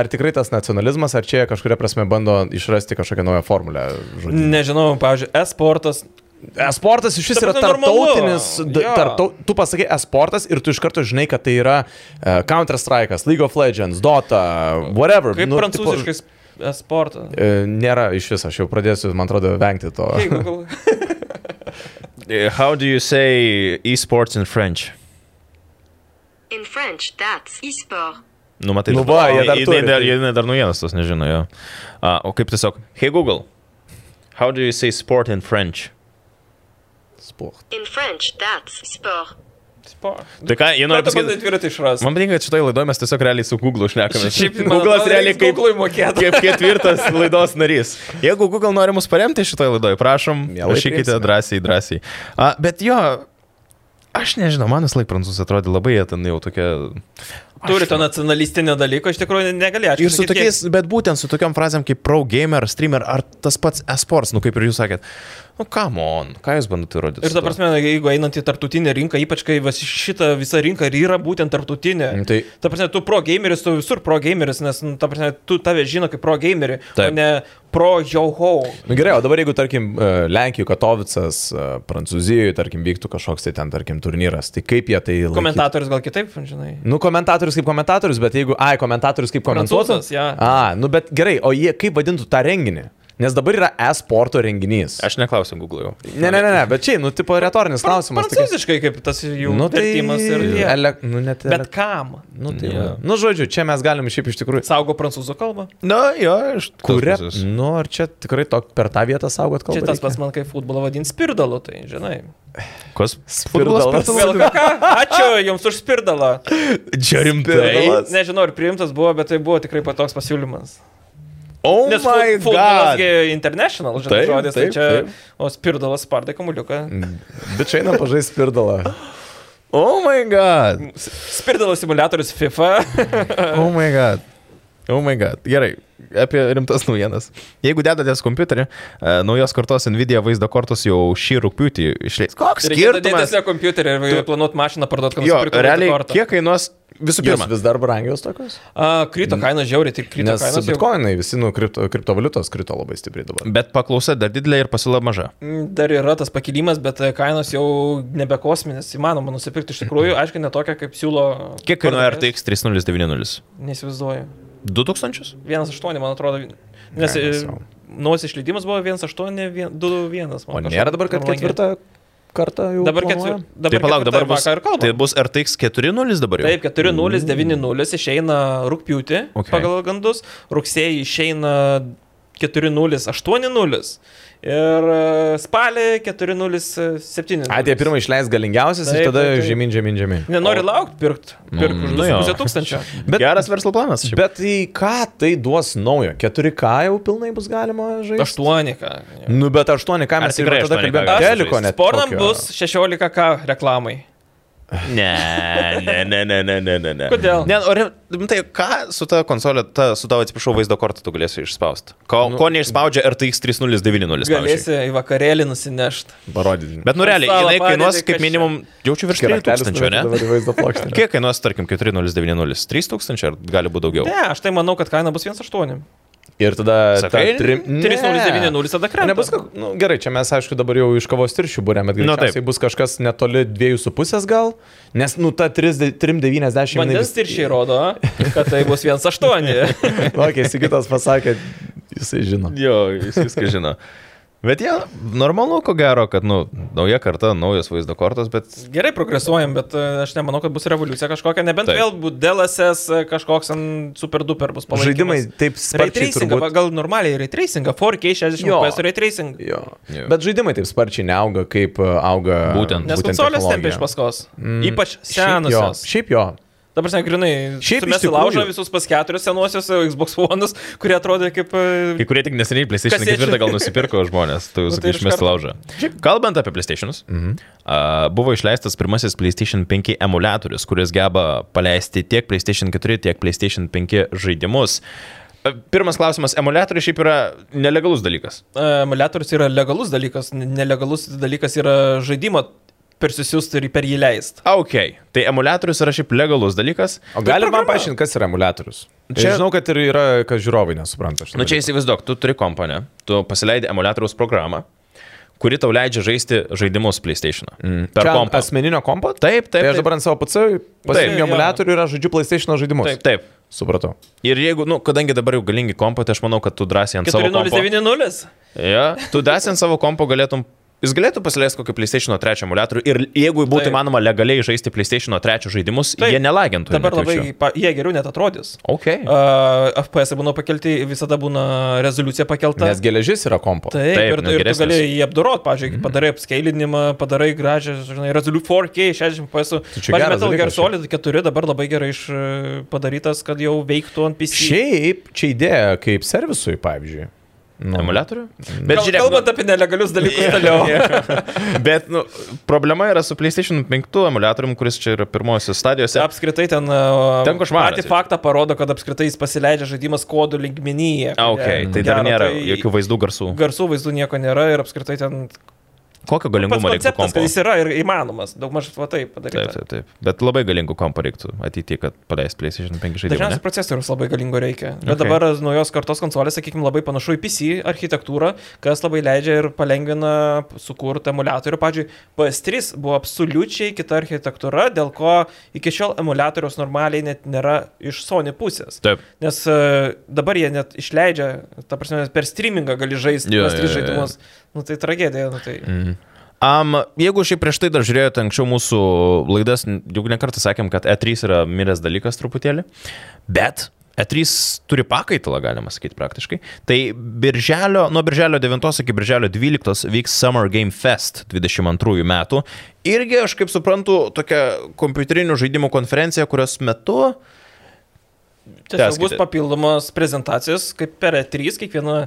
ar tikrai tas nacionalizmas, ar čia jie kažkuria prasme bando išrasti kažkokią naują formulę. žodžiu.
<laughs> Nežinau, pavyzdžiui, esportas.
Esportas iš vis
Mm. Ta
yra
prasme, normalu.
tarptautinis. d-
Jo.
Tartau, tu pasakai esportas ir tu iš karto žinai, kad tai yra uh, Counter-Strike'as, League of Legends, Dota, whatever.
Kaip
Nu, tipo,
prancūziškai esportas?
e, Nėra iš viso, aš jau pradėsiu, man atrodo, vengti to.
Jeigu gal...
E, How do you say esports in French?
In French, that's esport.
Nu, matai,
Nu va, jie dar
jinai
turi,
dar,
tai-
jinai dar naujienas tos nežino, jo. A, o kaip tiesiog, hey Google, how do you say sport in French?
Sport.
In French, that's sport.
Tai ką, jie nori
Noriu pasakyti,
pasakyti.
dviratį išras.
Man patinka, kad šitoje laidoje mes tiesiog realiai su Google
<laughs>
šnekame.
Šiaip, man
Google'as
atrodo,
realiai
reiks
kaip,
Google'ui mokėt.
kaip ketvirtas laidos narys. Jeigu Google nori mus paremti šitoje laidoje, prašom,
Mielai
rašykite
priimsime.
drąsiai, drąsiai. A, bet jo, aš nežinau, man vis laik prancūzai atrodė labai jie ten jau tokie.
Turi to nacionalistinio dalyko, iš tikrųjų negali.
Ir su tokiais, bet būtent su tokiam frazėm kaip pro gamer, streamer ar tas pats esports, nu kaip ir jūs sakėt, nu come on, ką jūs bandote įrodyti?
Ir ta prasme, jeigu einant į tarptautinę rinką, ypač kai vas- šita visa rinka ir yra būtent tarptautinė.
Mm, tai-
Ta prasme, tu pro gameris, tu visur pro gameris, nes, nu, ta prasme, tu tave žino kaip pro gamerį, o
Taip.
ne pro joho.
Nu, gerai, o dabar jeigu, tarkim, e, Lenkijoje, Katovicas, e, Prancūzijoje, tarkim, vyktų kažkoks tai ten, tarkim, turnyras, tai kaip jie tai... laikytų?
Komentatorius gal kitaip, žinai.
Nu, komentatorius kaip komentatorius, bet jeigu... Ai, komentatorius kaip komentatorius.
Prancūzas, jo.
A, nu bet gerai, o jie kaip vadintų tą renginį? Nes dabar yra e-sporto renginys.
Aš neklausiu Google jau.
Ne, ne, ne, ne, bet čia, nu, tipo, retorinis klausimas. tai kaip-
Prancūziškai kaip tas jų
Nu, tai...
vertimas ir jie.
Ele... Nu, net...
Bet
ele-
kam?
Nu, tai...
Jo.
Yeah. Nu, žodžiu, čia mes galim šiaip iš tikrųjų...
Saugo prancūzų kalbą.
Na, jo, iš
Kuria...
tos pusės.
Nu, ar čia tikrai to per tą vietą saugot kalbą?
Čia tas
reikia?
pats man kaip futbolo vadins spirdalu, tai žinai.
Kas?
Spirdalas.
Vėl ką? Ačiū Jums už spirdalą.
Čia
Tai,
rimtai.
nežinau, ar priimtas buvo, bet tai buvo tikrai patoks pasiūlymas.
Oh
Nes
my
fu-
god.
futbolasgi international, žinai,
Taip,
žodis, tai
taip,
čia,
taip. Mm.
o spirdalas spardai kamuliuką.
Bet čia einam pažaisti spirdalą.
Oh my god.
S- Spirdalas simulatorius FIFA. <laughs>
Oh my god. Oh my god. Gerai, apie rimtas naujienas. Jeigu dedatės kompiuterį, e, naujos kartos Nvidia vaizdo kortos jau šį rūpiutį išleis. Koks skirtumas?
Didesnė kompiuterį ir planuot mašiną parduoti, kad
Jo,
nusipirktum
realiai,
kortą.
kiek kainuos visų
Jos
pirma?
vis dar brangios tokios?
A, krito
Mm.
kaina žiauriai, tik krito
Nes
kaina.
bitkoinai, visi, nu, kripto, kriptovaliutos krito labai stipriai dabar.
Bet paklausa dar didelė ir pasiūla maža.
Mm, Dar yra tas pakilimas, bet e, kainos jau nebe kosminės, įmanoma nusipirkti iš tikrųjų, aišku, netokia kaip siūlo.
Mm. Kiek kainuoja tai-
pardavėjas.
RTX 3090?
Neįsivaizduoju.
2000?
1,8, man atrodo. Nes
Ne,
e,
nesąmonė.
naujas išleidimas buvo 1,8, 2,1.
O nėra dabar, kad ketvirtą kartą jau.
Dabar
planuoja?
ketvirtą.
Tai palauk, dabar bus.
vakar kalbam.
Tai bus RTX 4.0 dabar jau.
Taip, 4090 išeina rūpjūtį
Okay.
okay. pagal gandus, rugsėjai išeina 4080 ir e, spalį e, 4070.
A, tie pirmai išleis galingiausias ir
Taip,
tada
taip, taip.
žemyn, žemyn, žemyn.
Nenori laukti, pirkt, pirk už
nu jo.
2,5
<laughs>
tūkstančio.
Bet, Geras verslo planas. šiaip.
Bet į ką tai duos naujo? 4K jau pilnai bus galima žaisti?
8K.
Nu, bet 8K
Ar
mes ir
tikrai
tada
8K
kalbėjome.
gali
Teliko net.
Spornam
kokio.
bus 16K reklamai.
Ne, ne, ne, ne, ne, ne, ne, ne.
Kodėl?
Ne, nu, o re- rimtai, ką su ta konsolė, ta, su tavo atsiprašau vaizdo kortą tu galėsi išspausti? Ko, nu, ko neišspaudžia RTX 3090? pavyzdžiui?
Galėsi į vakarėlį nusinešti.
Parodyti.
Bet nu realiai,
Ant stalo
jinai kainuos
padedi,
kaip
kas
minimum, jaučiu virš 3000, ne? <laughs>
ne?
Kiek kainuos, tarkim, 4090? 3000 ar gali būti daugiau?
Ne, aš tai manau, kad kaina bus 1,8.
Ir tada... ta
Sakai?
trim- Ne.
3,090 tada krenta.
Nebus, ka- nu, gerai, čia mes aišku dabar jau iš kavos tiršių būrėm, bet
Nu, taip.
greičiausiai bus kažkas netoli 2,5 gal, nes, nu, ta 3,90.
Vandens tiršiai rodo, kad tai bus
<laughs>
1,8.
<laughs> Okei, Sigitas pasakė, jisai žino.
Jo, jis viską žino. Bet jie, normalu, ko gero, kad, nu, nauja karta, naujos vaizdo kortos, bet
Gerai progresuojam, bet e, aš nemanau, kad bus revoliucija kažkokia, nebent
Taip.
vėl bus DLSS e, kažkoks ant super duper bus palaikymas.
Žaidimai taip
Ray
sparčiai.
tracingą,
Turbūt...
turbūt... gal normaliai ray tracingą, 4K 60
Jo.
FPS ray tracing.
Jo.
Jo.
Bet žaidimai taip sparčiai neauga, kaip uh, auga.
Būtent.
Nes konsolės tempia
technologija.
iš paskos. Mm. Ypač
Šiaip jo,
senusios.
šiaip jo.
Dabar sen grinai,
Šiaip
šiaip
iš
mes
tikrųjų-
laužo visus pas keturis senuosius e, Xbox One'us, kurie atrodė kaip... e,
Kai kurie tik neseniai PlayStation
Kasečių.
4 gal nusipirko žmonės,
<laughs>
tu
tai
sakai,
ir iš
išmesti
karto.
laužą. Kalbant apie PlayStation'us, mhm. uh, buvo išleistas pirmasis PlayStation 5 emulatorius, kuris geba paleisti tiek PlayStation 4, tiek PlayStation 5 žaidimus. A, Pirmas klausimas, emulatorius šiaip yra nelegalus dalykas.
e, Emulatorius yra legalus dalykas, n- nelegalus dalykas yra žaidimą persisiųsti ir per jį leisti.
Ok, tai emulatorius yra šiaip legalus dalykas.
O gali man paaiškinti, kas yra emulatorius? Čia
Čia-
žinau, kad ir yra, kad žiūrovai nesupranta. šito
Na Nu, čia
dalyko.
įsivaizduok, tu turi komponę, tu pasileidi emulatoriaus programą, kuri tau leidžia žaisti žaidimus PlayStation. Mm. Per
Mhm. Čia ant
kompą.
asmeninio kompo?
Taip, taip.
Tai aš
taip.
dabar ant savo PC
jo.
pasirinkiu emulatorių ir aš žaidžiu PlayStation žaidimus.
Taip.
Taip.
Supratau.
Ir jeigu, nu, kadangi dabar jau galingi kompo, tai aš manau, kad tu drąsiai ant savo kompo.
4090.
Ja, tu drąsiai ant savo kompo galėtum. Jis galėtų pasileisti kokį PlayStation 3 emulatorių ir jeigu būtų
Taip.
įmanoma legaliai žaisti PlayStation 3 žaidimus, Taip.
Taip.
jie nelagintų.
Dabar labai, pa, jie geriau net atrodys.
Okay. Uh,
Uh, FPS būna pakelti, visada būna rezoliucija pakelta.
Nes geležis yra kompo.
Taip,
Taip,
taip, ir,
nu,
nu, ir tu
geresnis. Mhm.
gali jį apdorot, pavyzdžiui, padarai apskailinimą, padarai gražią, žinai, rezoliu 4K, 60 PS.
čia
Pavyzdžiui,
geras
Metal Gear
dalykas,
Solid 4 dabar labai gerai iš, e, padarytas, kad jau veiktų ant PC.
Šiaip čia idėja kaip servisui, pavyzdžiui. Nu,
emulatorių? Bet
Kal, žiūrėk,
žiūrėk,
kalbant apie nelegalius dalykus
<laughs>
toliau.
nu, bet nu, problema yra su PlayStation 5 emulatorium, kuris čia yra pirmosios stadijose.
<laughs> Apskritai ten...
Ten košmaras.
Pati faktą parodo, kad apskritai jis pasileidžia žaidimas kodų lygmenyje.
A, okay,
Ko
tai dar
gero,
nėra
tai
jokių vaizdų garsų.
Garsų vaizdų nieko nėra ir apskritai ten
Kokio
pats
galingumo reiktų
konceptas,
kompo?
kad jis yra ir įmanomas. Daug maž va taip
Taip,
padaryta.
taip, taip. Bet labai galingų kompo reiktų ateityje, kad paleist PlayStation 5 žaidimą.
Dažniausiai procesorius labai galingo reikia. Bet
Okay.
okay. dabar naujos kartos konsolės, sakykime, labai panašu į PC architektūrą, kas labai leidžia ir palengvina sukurti emulatorių. Pavyzdžiui, PS3 buvo absoliučiai kita architektūra, dėl ko iki šiol emulatorius normaliai net nėra iš Sony pusės.
Taip.
Nes e, dabar jie net išleidžia, ta prasme, per streamingą gali žaisti
Jo,
yeah, PS3
jo, jo,
yeah,
jo.
žaidimus. Yeah. Nu tai tragedija, nu tai. Mm.
Um, jeigu šiaip prieš tai dar žiūrėjote anksčiau mūsų laidas, n- juk ne kartą sakėm, kad E3 yra miręs dalykas truputėlį, bet E3 turi pakaitalą, galima sakyti praktiškai. Tai birželio, nuo birželio 9 iki birželio 12 vyks Summer Game Fest 22 metų. Irgi, aš kaip suprantu, tokia kompiuterinių žaidimų konferencija, kurios metu...
Tiesiog bus
Tęskite.
papildomos prezentacijos, kaip per E3, kiekviena,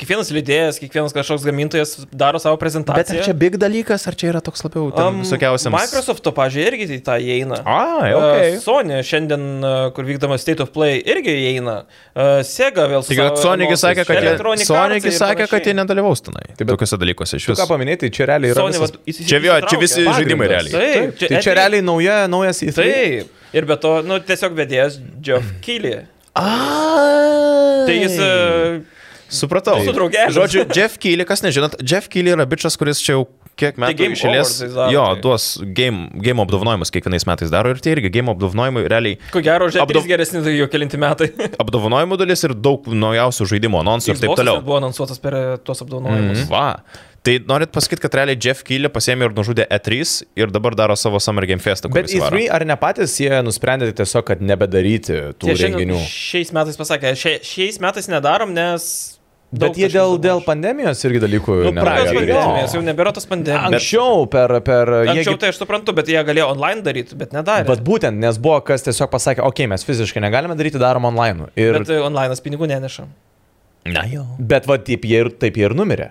kiekvienas lydėjas, kiekvienas kažkoks gamintojas daro savo
Bet ar
prezentaciją.
čia big dalykas, ar čia yra toks labiau um,
Am,
visokiausiams...
Microsoft, pažiūrėjau, irgi į tą įeina.
Ai, okay.
E, Sony šiandien, e, kur vykdama State of Play, irgi įeina. E, Sega vėl su...
Tik kad Sonic'i sakė, kad jie,
Electronic Arts
Sonic'i
ir
sakė, kad jie
panašiai.
nedalyvaus tenai.
bet-
Taip, tokiuose dalykuose iš
Tu ką
viso.
paminėjai, tai čia realiai yra...
Sony,
visas
vat, įsi-
Čia vėl- čia visi
įsitraukė.
žaidimai realiai.
Taip,
Tai čia
E3
realiai nauja, naujas E įstatymas.
Taip. Ir be to, nu, tiesiog vedėjas Jeff Keely. Tai
Tai
jis... e,
Supratau.
su draugelis.
Žodžiu, Jeff Keely, kas nežinot, Jeff Keely yra bičias, kuris čia jau kiek metų
Tai Game
išėlės.
Awards jis daro,
Jo,
tai.
duos game, game apdovanojimus kiekvienais metais daro ir tie irgi game apdovanojimai realiai.
Ko gero, žinai,
Apdov-
Apdov... geresni tai jau kelinti metai. <laughs>
Apdovanojimų dalis ir daug naujausių žaidimų anonsų ir taip
Xbox'as
toliau.
net Buvo anonsuotas per e, tuos apdovanojimus. Mm.
Va. Tai norit pasakyti, kad realiai Jeff Keely pasėmė ir nužudė E3 ir dabar daro savo Summer Game Festą. kur
Bet
jis varo.
E3 ar ne patys jie nusprendė tiesiog, kad nebedaryti tų
Jie šiandien-
renginių?
Šiais metais pasakė, šia, šiais metais nedarom, nes... daug
Bet jie
kažkokių
dėl, dėl
mažų.
pandemijos irgi dalykų...
Nu,
nenorėjo
praėjus
nebegali
daryti.
pandemijos, jau nebėra tos pandemijos.
Anksčiau per... per jie
Anksčiau
gi-
tai aš suprantu, bet jie galėjo online daryti, bet nedarė.
Bet būtent, nes buvo kas tiesiog pasakė, okei, mes fiziškai negalime daryti, darom online. Ir,
Bet
bet
e, online'as pinigų neneša.
Na jau.
bet va, taip jie ir, taip jie ir numirė.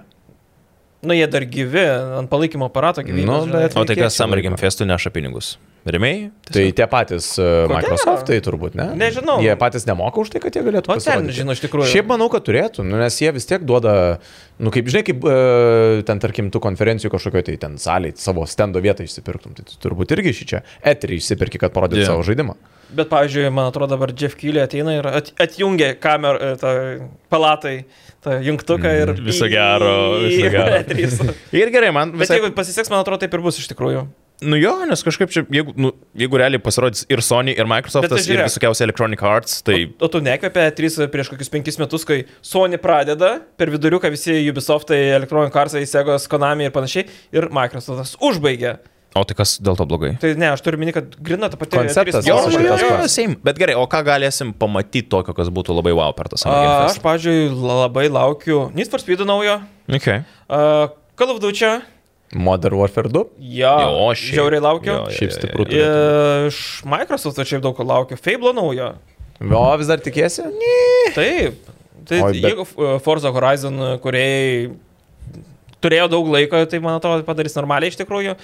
Nu, jie dar gyvi, ant palaikymo aparato gyvi.
Nu,
žinai.
bet-
O tai
Reikėčiau
kas Summer Game
laiko.
Festui neša pinigus? Remiai?
Tai tie patys e,
Ko gero.
Microsoftai turbūt, ne?
Nežinau.
Jie patys nemoka už tai, kad jie galėtų.
O ten,
pasirodyti.
žinau, iš tikrųjų.
Šiaip manau, kad turėtų, nu, nes jie vis tiek duoda, nu kaip žinai, kaip e, ten tarkim tų konferencijų kažkokio tai ten saliai savo stendo vietą išsipirktum, tai tu turbūt irgi šį čia eterį išsipirki, kad parodytum
Jo.
yeah. savo žaidimą.
Bet, pavyzdžiui, man atrodo, dabar Jeff Keely ateina ir at, atjungia kamerą, e, tą palatai, tą jungtuką ir...
Mm, Viso gero, viso gero.
<laughs> gero.
Ir gerai, man
Bet
visai...
jeigu pasiseks, man atrodo, taip ir bus iš tikrųjų.
Nu jo, nes kažkaip čia, jeigu, nu, jeigu realiai
Tai-
pasirodys ir Sony, ir
Bet
Microsoftas,
tai
ir
žiūrėk.
visokiausi Electronic Arts, tai...
O tu nekvepia 3 prieš kokius 5 metus, kai Sony pradeda, per viduriuką visi Ubisoftai, Electronic Arts, Segos, Konami ir panašiai, ir Microsoftas užbaigia.
O tai kas dėl to blogai?
Tai ne, aš turiu minį, kad grina ta pati
Konceptas
Jo,
Jo,
visas
jo, jo,
šitas
jo,
pats.
same. Bet gerai, o ką galėsim pamatyti tokio, kas būtų labai wow per tą
A, Aš,
savo...
pažiūrėjau, labai laukiu Need for Speed naujo,
Okay.
a, Call of Duty,
Modern Warfare 2.
jo,
Jo, šiaip.
žiauriai laukiu.
Jo, jo,
Šiaip
jo, jo,
stipru.
jo.
I- Iš Microsoft'o šiaip daug ko laukiu, Fable naujo.
O vis dar tikėsi? Ne.
Taip, tai
Oi,
Oi,
bet-
jeigu e, Forza Horizon kuriai turėjo daug laiko, tai man atrodo padarys normaliai iš tikrųjų.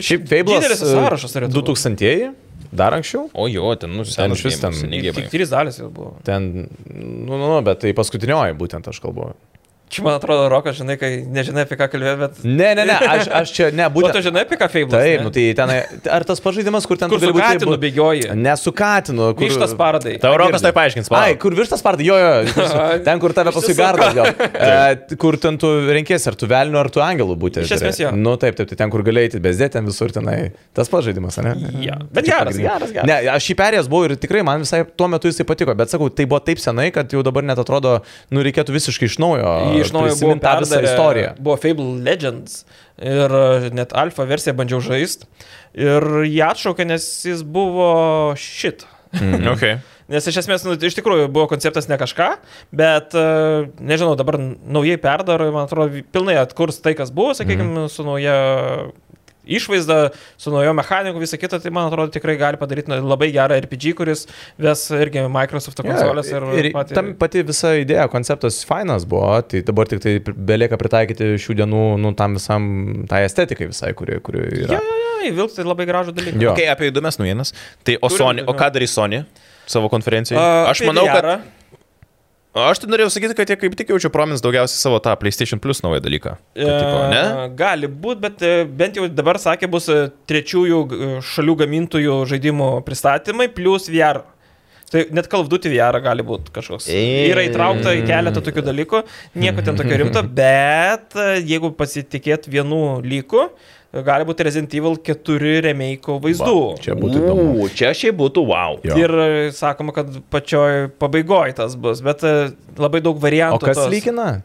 Ir
Šiaip e, Fable'as.
Didelis tas sąrašas yra.
2000-ieji, dar anksčiau.
O jo, ten, nu, ten
išvis ten-
Tik trys dalis jau buvo.
Ten, nu, nu, nu, bet tai paskutinioji būtent aš kalbu.
Čia man atrodo, Rokas, žinai, kai nežinai apie ką kalbėti, bet...
Ne, ne, ne, aš, aš čia, ne,
Būtent... O
Nu, būtent.
tu žinai apie ką Fable?
Taip, nu tai ten, ar tas pažaidimas, kur ten
Kur
tu gali
su
būti-
katinu bėgioji?
Ne su katinu, kur...
Vištas paradai.
Tau Rokas tai paaiškins, man.
Ai, kur vištas pardai, jo,
<laughs>
jo, ten, kur tave paskui gardas gal. E, kur ten tu renkiesi, ar tu velniu, ar tu angelų būtent.
Iš esmės jo.
Nu taip, taip, tai ten, kur galėjai eiti bezdėti, ten visur tenai. Tas pažaidimas, ar ne?
Jo. Bet
Tai Čia
geras,
pagrindinė.
geras, geras.
Ne, aš jį perėjęs buvau ir tikrai man visai tuo metu jisai patiko, bet sakau, tai buvo taip senai, kad jau dabar net atrodo, nu reikėtų visiškai iš naujo.
Jį iš naujo buvo
prisimint tą visą
perdarę-
istoriją.
Buvo Fable Legends ir e, net alfa versiją bandžiau žaisti ir jį atšaukė, nes jis buvo
<laughs>
šit.
Mhm.
Mm. Okay.
Nes iš esmės, nu, iš tikrųjų, buvo konceptas ne kažką, bet, e, nežinau, dabar naujai perdaro, ir, man atrodo, pilnai atkurs tai, kas buvo, sakykime,
Mhm.
mm. su nauja išvaizda, su naujo mechaniku, visą kitą, tai, man atrodo, tikrai gali padaryti na, labai gerą RPG, kuris ves irgi Microsoft
Jo,
konsolės ir,
ir pati... tam pati visa idėja, konceptas fainas buvo, tai dabar tik tai pri- belieka pritaikyti šių dienų, nu, tam visam, tai estetikai visai, kuri, kuri
Jo,
yra.
jo, jo, įvilgti labai gražų dalyką.
Jo.
Okay, apie įdomias naujienas. Tai o,
Turim
Sony, o
daugiau.
ką darys Sony savo konferencijoje?
A, tai
aš
apie
manau,
VR.
kad... Aš tai norėjau sakyti, kad jie kaip tik jaučiu promins daugiausiai savo tą PlayStation Plus naują dalyką. Tai, tipo, ne?
E, Gali būti, bet e, bent jau dabar sakė, bus e, trečiųjų e, šalių gamintojų žaidimų pristatymai plus VR. Tai net kalvduti VR gali būti kažkoks.
Ei.
Yra įtraukta į keletą tokių dalykų, nieko ten tokio
<laughs>
rimto, bet e, jeigu pasitikėt vienu lygu, e, gali būti Resident Evil 4 remake vaizdų.
Čia būtų įdomu.
U, čia šiaip būtų wow.
Jo.
Ir e, sakoma, kad pačioj pabaigoje tas bus, bet e, labai daug variantų.
O kas
tos.
lygina?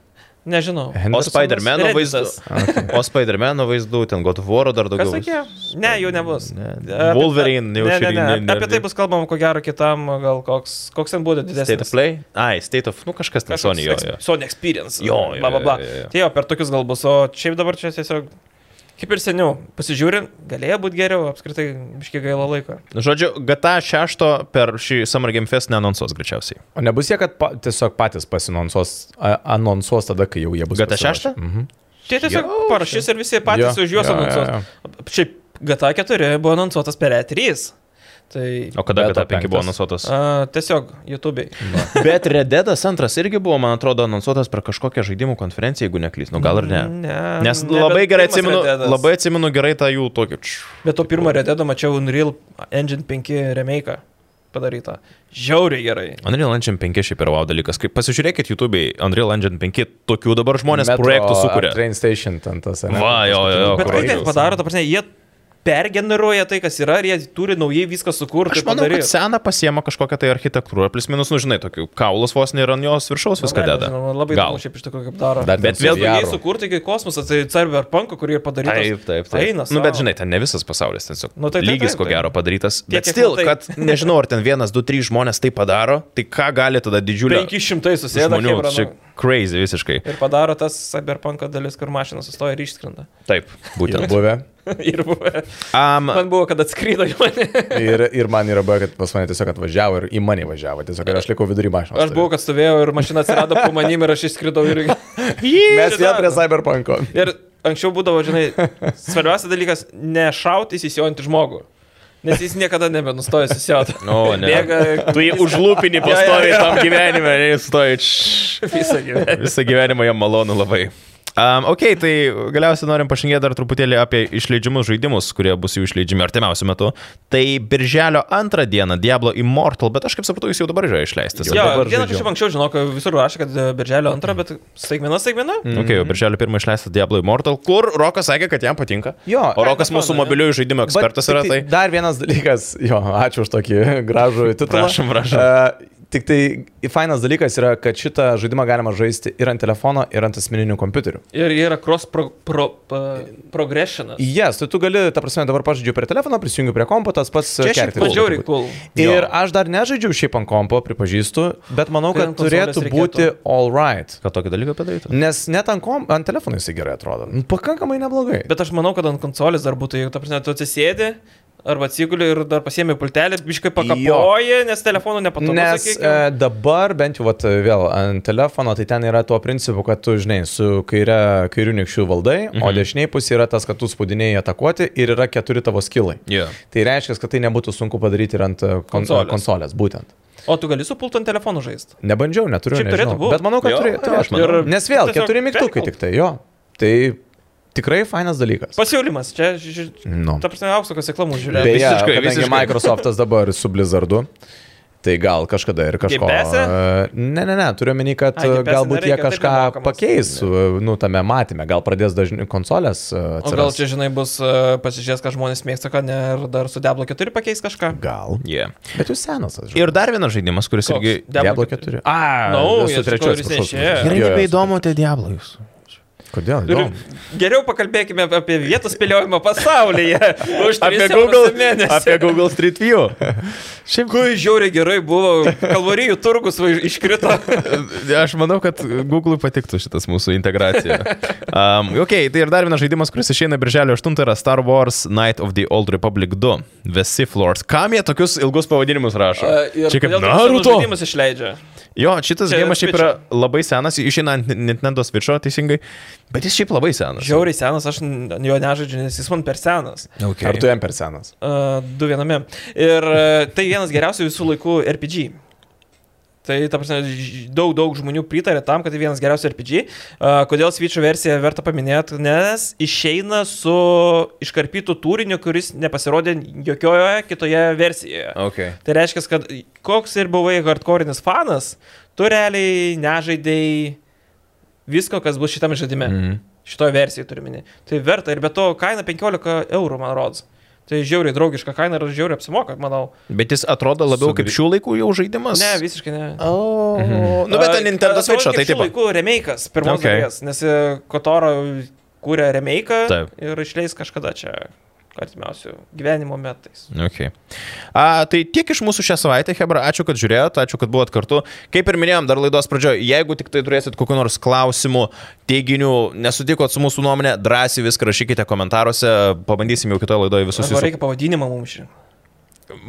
Nežinau.
O
Hendersonas?
Spider-Man'o
Redditas.
vaizdų.
Ah, tai.
O Spider-Man'o vaizdų, ten God of War dar
Kas
daugiau.
sakė? Ne, jų nebus.
Ne.
Apie- tai-
Wolverine jau
ne, ne,
šiandien-
ne.
ne- ne-
Apie tai bus kalbama, ko gero, kitam, gal koks, koks ten būtų
State
didesnis.
of Play? Ai, State of, nu kažkas ten
Kažkoks
Sony jo.
ex-
jo.
Sony Experience.
Jo, jo,
bla, bla, bla.
jo, jo, jo.
Tai jo, per tokius gal bus, o šiaip dabar čia tiesiog, kaip ir seniau, pasižiūrint, galėjo būti geriau, apskritai, biškai gaila laiko.
Nu, Žodžiu, GTA 6 per šį Summer Game Fest neanonsuos greičiausiai.
O nebus jie, kad pa, tiesiog patys pasinonsuos, a- anonsuos tada, kai jau jie bus.
GTA 6?
pasiruošę?
Mhm.
Tie Tai tiesiog
Jo,
parašys ir visi patys
Jo,
už juos
jo, jo,
anonsuos. Šiaip GTA 4 buvo anonsuotas per E3. Tai...
O kada
Beta
GTA 5 buvo
penktas.
anonsuotas?
A, tiesiog YouTube'ai.
Bet Red Deadas antras irgi buvo, man atrodo, anonsuotas per kažkokią žaidimų konferenciją, jeigu neklys. Nu gal ir ne.
Ne,
Nes
ne, bet
labai gerai
pirmas
atsimenu,
Red Deadas.
labai atsimenu gerai tą jų tokį. č-
Bet to pirmo Red Dead'o mačiau Unreal Engine 5 remake padarytą. Žiauriai gerai.
Unreal Engine 5 šiaip yra wow dalykas. Kaip pasižiūrėkit YouTube'e, Unreal Engine 5 tokių dabar žmonės
Metro
projektų
ar
sukuria.
Train station ten tas. ar ne?
Va, jo, jo, jo,
Bet
kur
kaip jie
Unreal.
padaro, ta prasme, jie pergeneruoja tai, kas yra, ir jie turi naujai viską sukurti.
Aš manau, kad seną pasiema kažkokią tai architektūrą, plus minus, nu žinai, tokių kaulas vos nėra ant jos viršaus viską deda.
Nu, Labai
Gal.
įdomu šiaip iš tikrųjų, kaip daro.
Dar
Bet
bet
vėl
vėl
Vėlgi, jie
jie
sukurti iki kosmosą, tai Cyberpunk, kurį ir padaryta.
Taip, taip, taip.
Eina.
nu, bet
sau.
žinai, ten ne visas pasaulis, ten tiesiog
Nu,
nu,
tai-
tai,
tai-
lygis,
taip,
ko
taip.
gero, padarytas.
Tiek,
bet
kiek
stil,
matai.
kad nežinau, ar ten vienas, du, trys žmonės tai padaro, tai ką gali tada didžiulė
500 susėda
žmonių,
chebra,
čia
nu,
crazy visiškai.
ir padaro tas Cyberpunk dalis, kur mašina sustoja ir išskrenda. <laughs>
Taip,
yra
būtent.
buvę.
ir buvo.
Um,
Man buvo, kad atskrydo į mane.
Ir, ir man yra buvę, kad pas mane tiesiog atvažiavo ir į mane važiavo. Tiesiog ir aš likau vidury mašinos.
Aš buvau, kad stovėjau ir mašina atsirado po manim ir aš išskridau
<laughs>
ir...
Mes vėl prie
Šitą-
Cyberpunko.
Ir anksčiau būdavo, žinai, svarbiausias dalykas - nešauti įsisijojantį žmogų. Nes jis niekada nebenustoja susijoti.
O, ne.
Bėga
Tu jį užlūpinį
Jo,
pastoviai
jo, jo.
tam gyvenime, neįstoji.
visą gyvenimą.
Visą gyvenimą jam malonu labai. Um, ok, tai galiausiai norim pašnekėti dar truputėlį apie išleidžiamus žaidimus, kurie bus jų išleidžiami artimiausiu metu. Tai birželio antrą dieną Diablo Immortal, bet aš kaip supratau, jis jau dabar yra išleistas.
Jo,
dabar
vieną
žaidžiu.
kažkaip anksčiau žinok, visur rašė, kad e, birželio antrą, bet staigmena, staigmena.
Ok, jau birželio pirmą išleistas Diablo Immortal, kur Rokas sakė, kad jam patinka.
Jo,
o Rokas
faina,
mūsų
jo.
mobiliųjų žaidimų ekspertas
Bet
yra
tik
tai.
Dar vienas dalykas, <laughs> jo, ačiū už tokį gražų titulą.
Prašom, prašom.
Uh, tik tai fainas dalykas yra, kad šitą žaidimą galima žaisti ir ant telefono, ir ant asmeninių kompiuterių.
Ir yra cross pro, pro, pro, progressionas.
Jes, tai tu gali, ta prasme, dabar pažaidžiu prie telefono, prisijungiu prie kompo, tas pats
Čia šiaip
kerti.
Man žiauriai cool.
Ir
Jo.
aš dar nežaidžiau šiaip ant kompo, pripažįstu, bet manau,
Tai
kad
ant konsolės
turėtų būti
reikėtų.
all right.
tai- Ką tokį dalyką padaryti?
Nes net ant, kom, ant telefono jisai gerai atrodo. Nu, Pakankamai neblogai.
Bet aš manau, kad ant konsolės dar būtų, jeigu, ta prasme, tu atsisėdi. Arba atsiguli ir dar pasiemi pultelį, biškai pakapoji, nes telefonų nepatogu.
Nes e, dabar bent jau vat, vėl ant telefono, tai ten yra tuo principu, kad tu, žinai, su kaire, kairiu nikščiu valdai, mhm. o dešiniai pusė yra tas, kad tu spaudinėjai atakuoti ir yra keturi tavo skilai.
Jo.
Tai reiškia, kad tai nebūtų sunku padaryti ir ant e, kon
Konsolės.
konsolės. konsolės, būtent.
O tu gali su pultu ant telefonų žaisti.
Nebandžiau, neturiu.
Šiaip turėtų
nežinau.
būt.
Bet manau, kad
Jo,
turėtų.
jo, aš manau.
Ir
Nes vėl,
tiesiog
keturi mygtukai
perkelt.
tik tai, jo. Tai tikrai fainas dalykas.
Pasiūlymas, čia, ži- ži-
Mm.
Nu.
ta prasme, aukso kaseklamų žiūrėti.
Beje,
visiškai,
visiškai, visiškai.
visiškai.
Microsoftas dabar su Blizzardu. Tai gal kažkada ir kažko.
Gepese?
e, Ne, ne, ne, turiu menį, kad
Ai,
e,
gepese
galbūt jie
nereikia, taip
kažką
nemokamas.
pakeis, e, nu, tame matyme, gal pradės dažniau konsolės
O
e,
gal
atsirast.
čia, žinai, bus e, pasižiūrės, ką žmonės mėgsta, ką ne, ir dar su Diablo 4 pakeis kažką.
Gal.
Yeah.
Bet jūs senas, aš žinau.
Ir dar vienas žaidimas, kuris
Koks?
irgi...
Diablo 4. A,
Naujas,
su trečiu
kuris neišėjo.
Gerai, nebeįdomu, tai Diablo jūs.
Kodėl?
Ir
Įdomu.
geriau pakalbėkime apie vietų spėliojimą pasaulyje. Už
<laughs> Apie Google, apie Google Street View. Šiaip
Kui žiauriai gerai buvo, kalvarijų turgus va iškrito.
Aš manau, kad Google'ui patiktų šitas mūsų integracija. Um, ok, tai ir dar vienas žaidimas, kuris išeina birželio 8 yra Star Wars Night of the Old Republic 2. The Sith Lords. Kam jie tokius ilgus pavadinimus rašo? Čia kaip Naruto.
Žaidimus išleidžia.
Jo, šitas
Čia
žaidimas šiaip
Switch'o.
yra labai senas, išeina ant Nintendo Switch'o teisingai, bet jis šiaip labai senas.
Žiauriai senas, aš n- jo nežaidžiu, nes jis man per senas.
Okay.
Ar tu jam per senas?
Uh, du viename. Ir uh, tai vienas geriausių visų laikų RPG. Tai, ta prasme, ž- daug, daug žmonių pritarė tam, kad tai vienas geriausių RPG. Uh, kodėl Switch versiją verta paminėti? Nes išeina su iškarpytų turiniu, kuris nepasirodė jokioje kitoje versijoje.
Okay.
Tai reiškia, kad koks ir buvai hardcore'inis fanas, tu realiai nežaidėjai visko, kas bus šitam žaidime. Mm
Mhm.
-hmm. Šitoje versijoje turime. Tai verta ir be to kaina 15 eurų, man rodos. Tai žiauriai draugiška kaina ir žiauriai apsimoka, manau.
Bet jis atrodo labiau
Sugri-
kaip šių laikų jau žaidimas.
Ne, visiškai ne.
Oh. Mhm. Nu, bet ten Nintendo Switch'o, tai
taip.
taip.
Tai laikų remake'as, pirmos
Okay.
okay. dalies, nes e, Kotoro kūrė remake'ą
Taip.
ir išleis kažkada čia artimiausių gyvenimo metais.
Okay. A, tai tiek iš mūsų šią savaitę, Hebra, ačiū, kad žiūrėjote, ačiū, kad buvot kartu. Kaip ir minėjom dar laidos pradžioje, jeigu tik tai turėsit kokiu nors klausimu, teiginių, nesutikot su mūsų nuomonė, drąsiai viską rašykite komentaruose, pabandysim jau kitoje laidoje visus
Arba reikia
jūsų.
pavadinimą mums šį.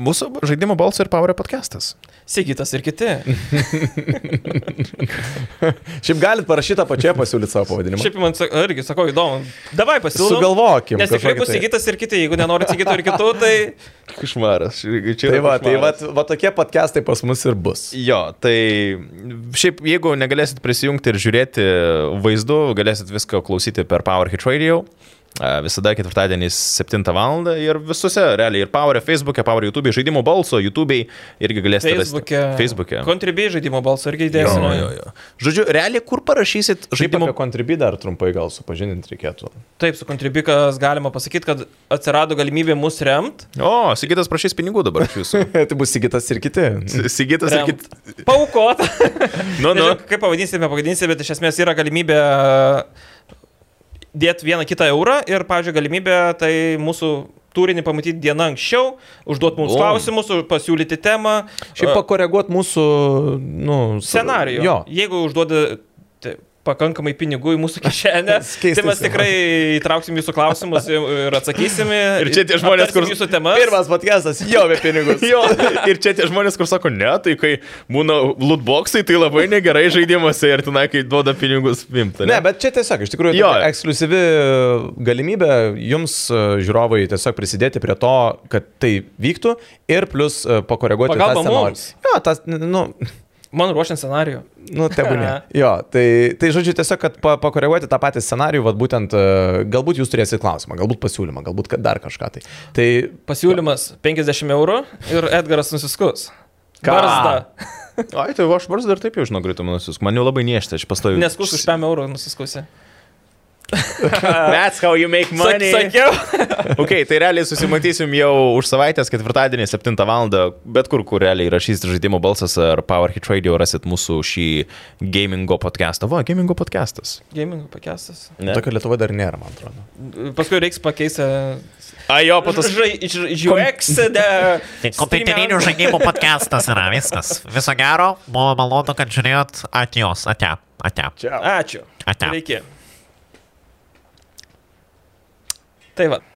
Mūsų žaidimo balsų ir Power podcastas.
Sigitas ir kiti.
Šiaip galit parašyti apačioje pasiūlyti savo pavadinimą.
Šiaip man sak- irgi sako įdomu. Davai pasiūlom.
Sugalvokim
Nes tikrai
kažkokį
bus
tai.
įgytas ir kiti. Jeigu nenori įgytų ir kitų,
<laughs>
tai
Išmaras. Čia
Tai
yra
va, tai va,
košmaras.
va tokie podcastai pas mus ir bus.
Jo, tai šiaip jeigu negalėsit prisijungti ir žiūrėti vaizdu, galėsit viską klausyti per PowerHit Radio. A, Visada ketvirtadienį 7 val. ir visose, realiai, ir Power, Facebook'e, Power YouTube, žaidimų balso, YouTube'e irgi galėsite
Facebook'e.
rasti. Facebook'e.
Kontribijai žaidimo balsą irgi
Jo,
įdėsime.
jo, jo. Žodžiu, realiai, kur parašysit
Šiaip
žaidimų
apie kontribį dar trumpai gal supažindinti reikėtų.
Taip, su kontribikas galima pasakyti, kad atsirado galimybė mus remt.
O, Sigitas prašys pinigų dabar iš
<laughs>
jūsų.
<laughs> tai bus įgytas ir kiti.
Sigitas,
remt.
sakykit. <laughs>
Paukot.
Nu, nu.
Nežinau, Kaip pavadinsime, pavadinsime, bet iš esmės yra galimybė dėti vieną kitą eurą ir, pavyzdžiui, galimybė tai mūsų turinį pamatyti dieną anksčiau, užduoti mums
O.
klausimus, pasiūlyti temą.
Šiaip pakoreguot mūsų, nu, su-
scenarijų.
Jo.
Jeigu užduoda, tai, pakankamai pinigų į mūsų
<laughs>
kišenę,
keistas
tai mes
tema.
tikrai įtrauksim jūsų klausimus ir ir atsakysim.
<laughs> Ir čia tie žmonės, kur-
Jūsų temas.
Pirmas podcastas, jo be pinigus.
<laughs>
Jo, <laughs> ir čia tie žmonės, kur sako, ne, tai kai būna lootboxai, tai labai negerai žaidimuose ir tenai, kai duoda pinigus pimta.
Ne, bet čia tiesiog, iš tikrųjų,
Jo.
jo. ekskluzivi galimybė jums e, žiūrovai tiesiog prisidėti prie to, kad tai vyktų ir plus e, pakoreguoti
Pagalba
tą scenarijų.
mums.
Jo, tas, nu,
Man ruošiant scenarijų.
nu tegu
<laughs>
ne. Jo, tai, tai žodžiu, tiesiog, kad pa, pakoreguoti tą patį scenarijų, vad būtent, e, galbūt jūs turėsite klausimą, galbūt pasiūlymą, galbūt kad dar kažką tai. Tai
Pasiūlymas 50 eurų ir Edgaras nusiskus.
Ką?
Karsta.
Ai, tai va, aš varstu dar taip jau žinau, greitai manusius. Man jau labai niešta, aš pastoviu.
Neskus už 5 eurų nusiskusi.
That's how you make
Sak, sakiau.
Ok, tai realiai susimatysim jau už savaitės, ketvirtadienį, 7 val. Bet kur, kur realiai rašysit žaidimo balsas ar Power Hit Radio, rasit mūsų šį gamingo podcastą. Va, gamingo podcastas.
Gaming pakestas.
Ne.
tokio Lietuvoje dar nėra, man atrodo.
Paskui reiks pakeisti.
A, jo, po
Patas...
tos.
Žai, iš, iš UX.
<laughs>
de-
Tai kompiuterinių
streamer-
žaidimų podcastas yra viskas. Viso gero, buvo malonu, kad žiūrėjot. Atjos, ate, ate.
Ačiū.
Ate.
Reikia. Tai va.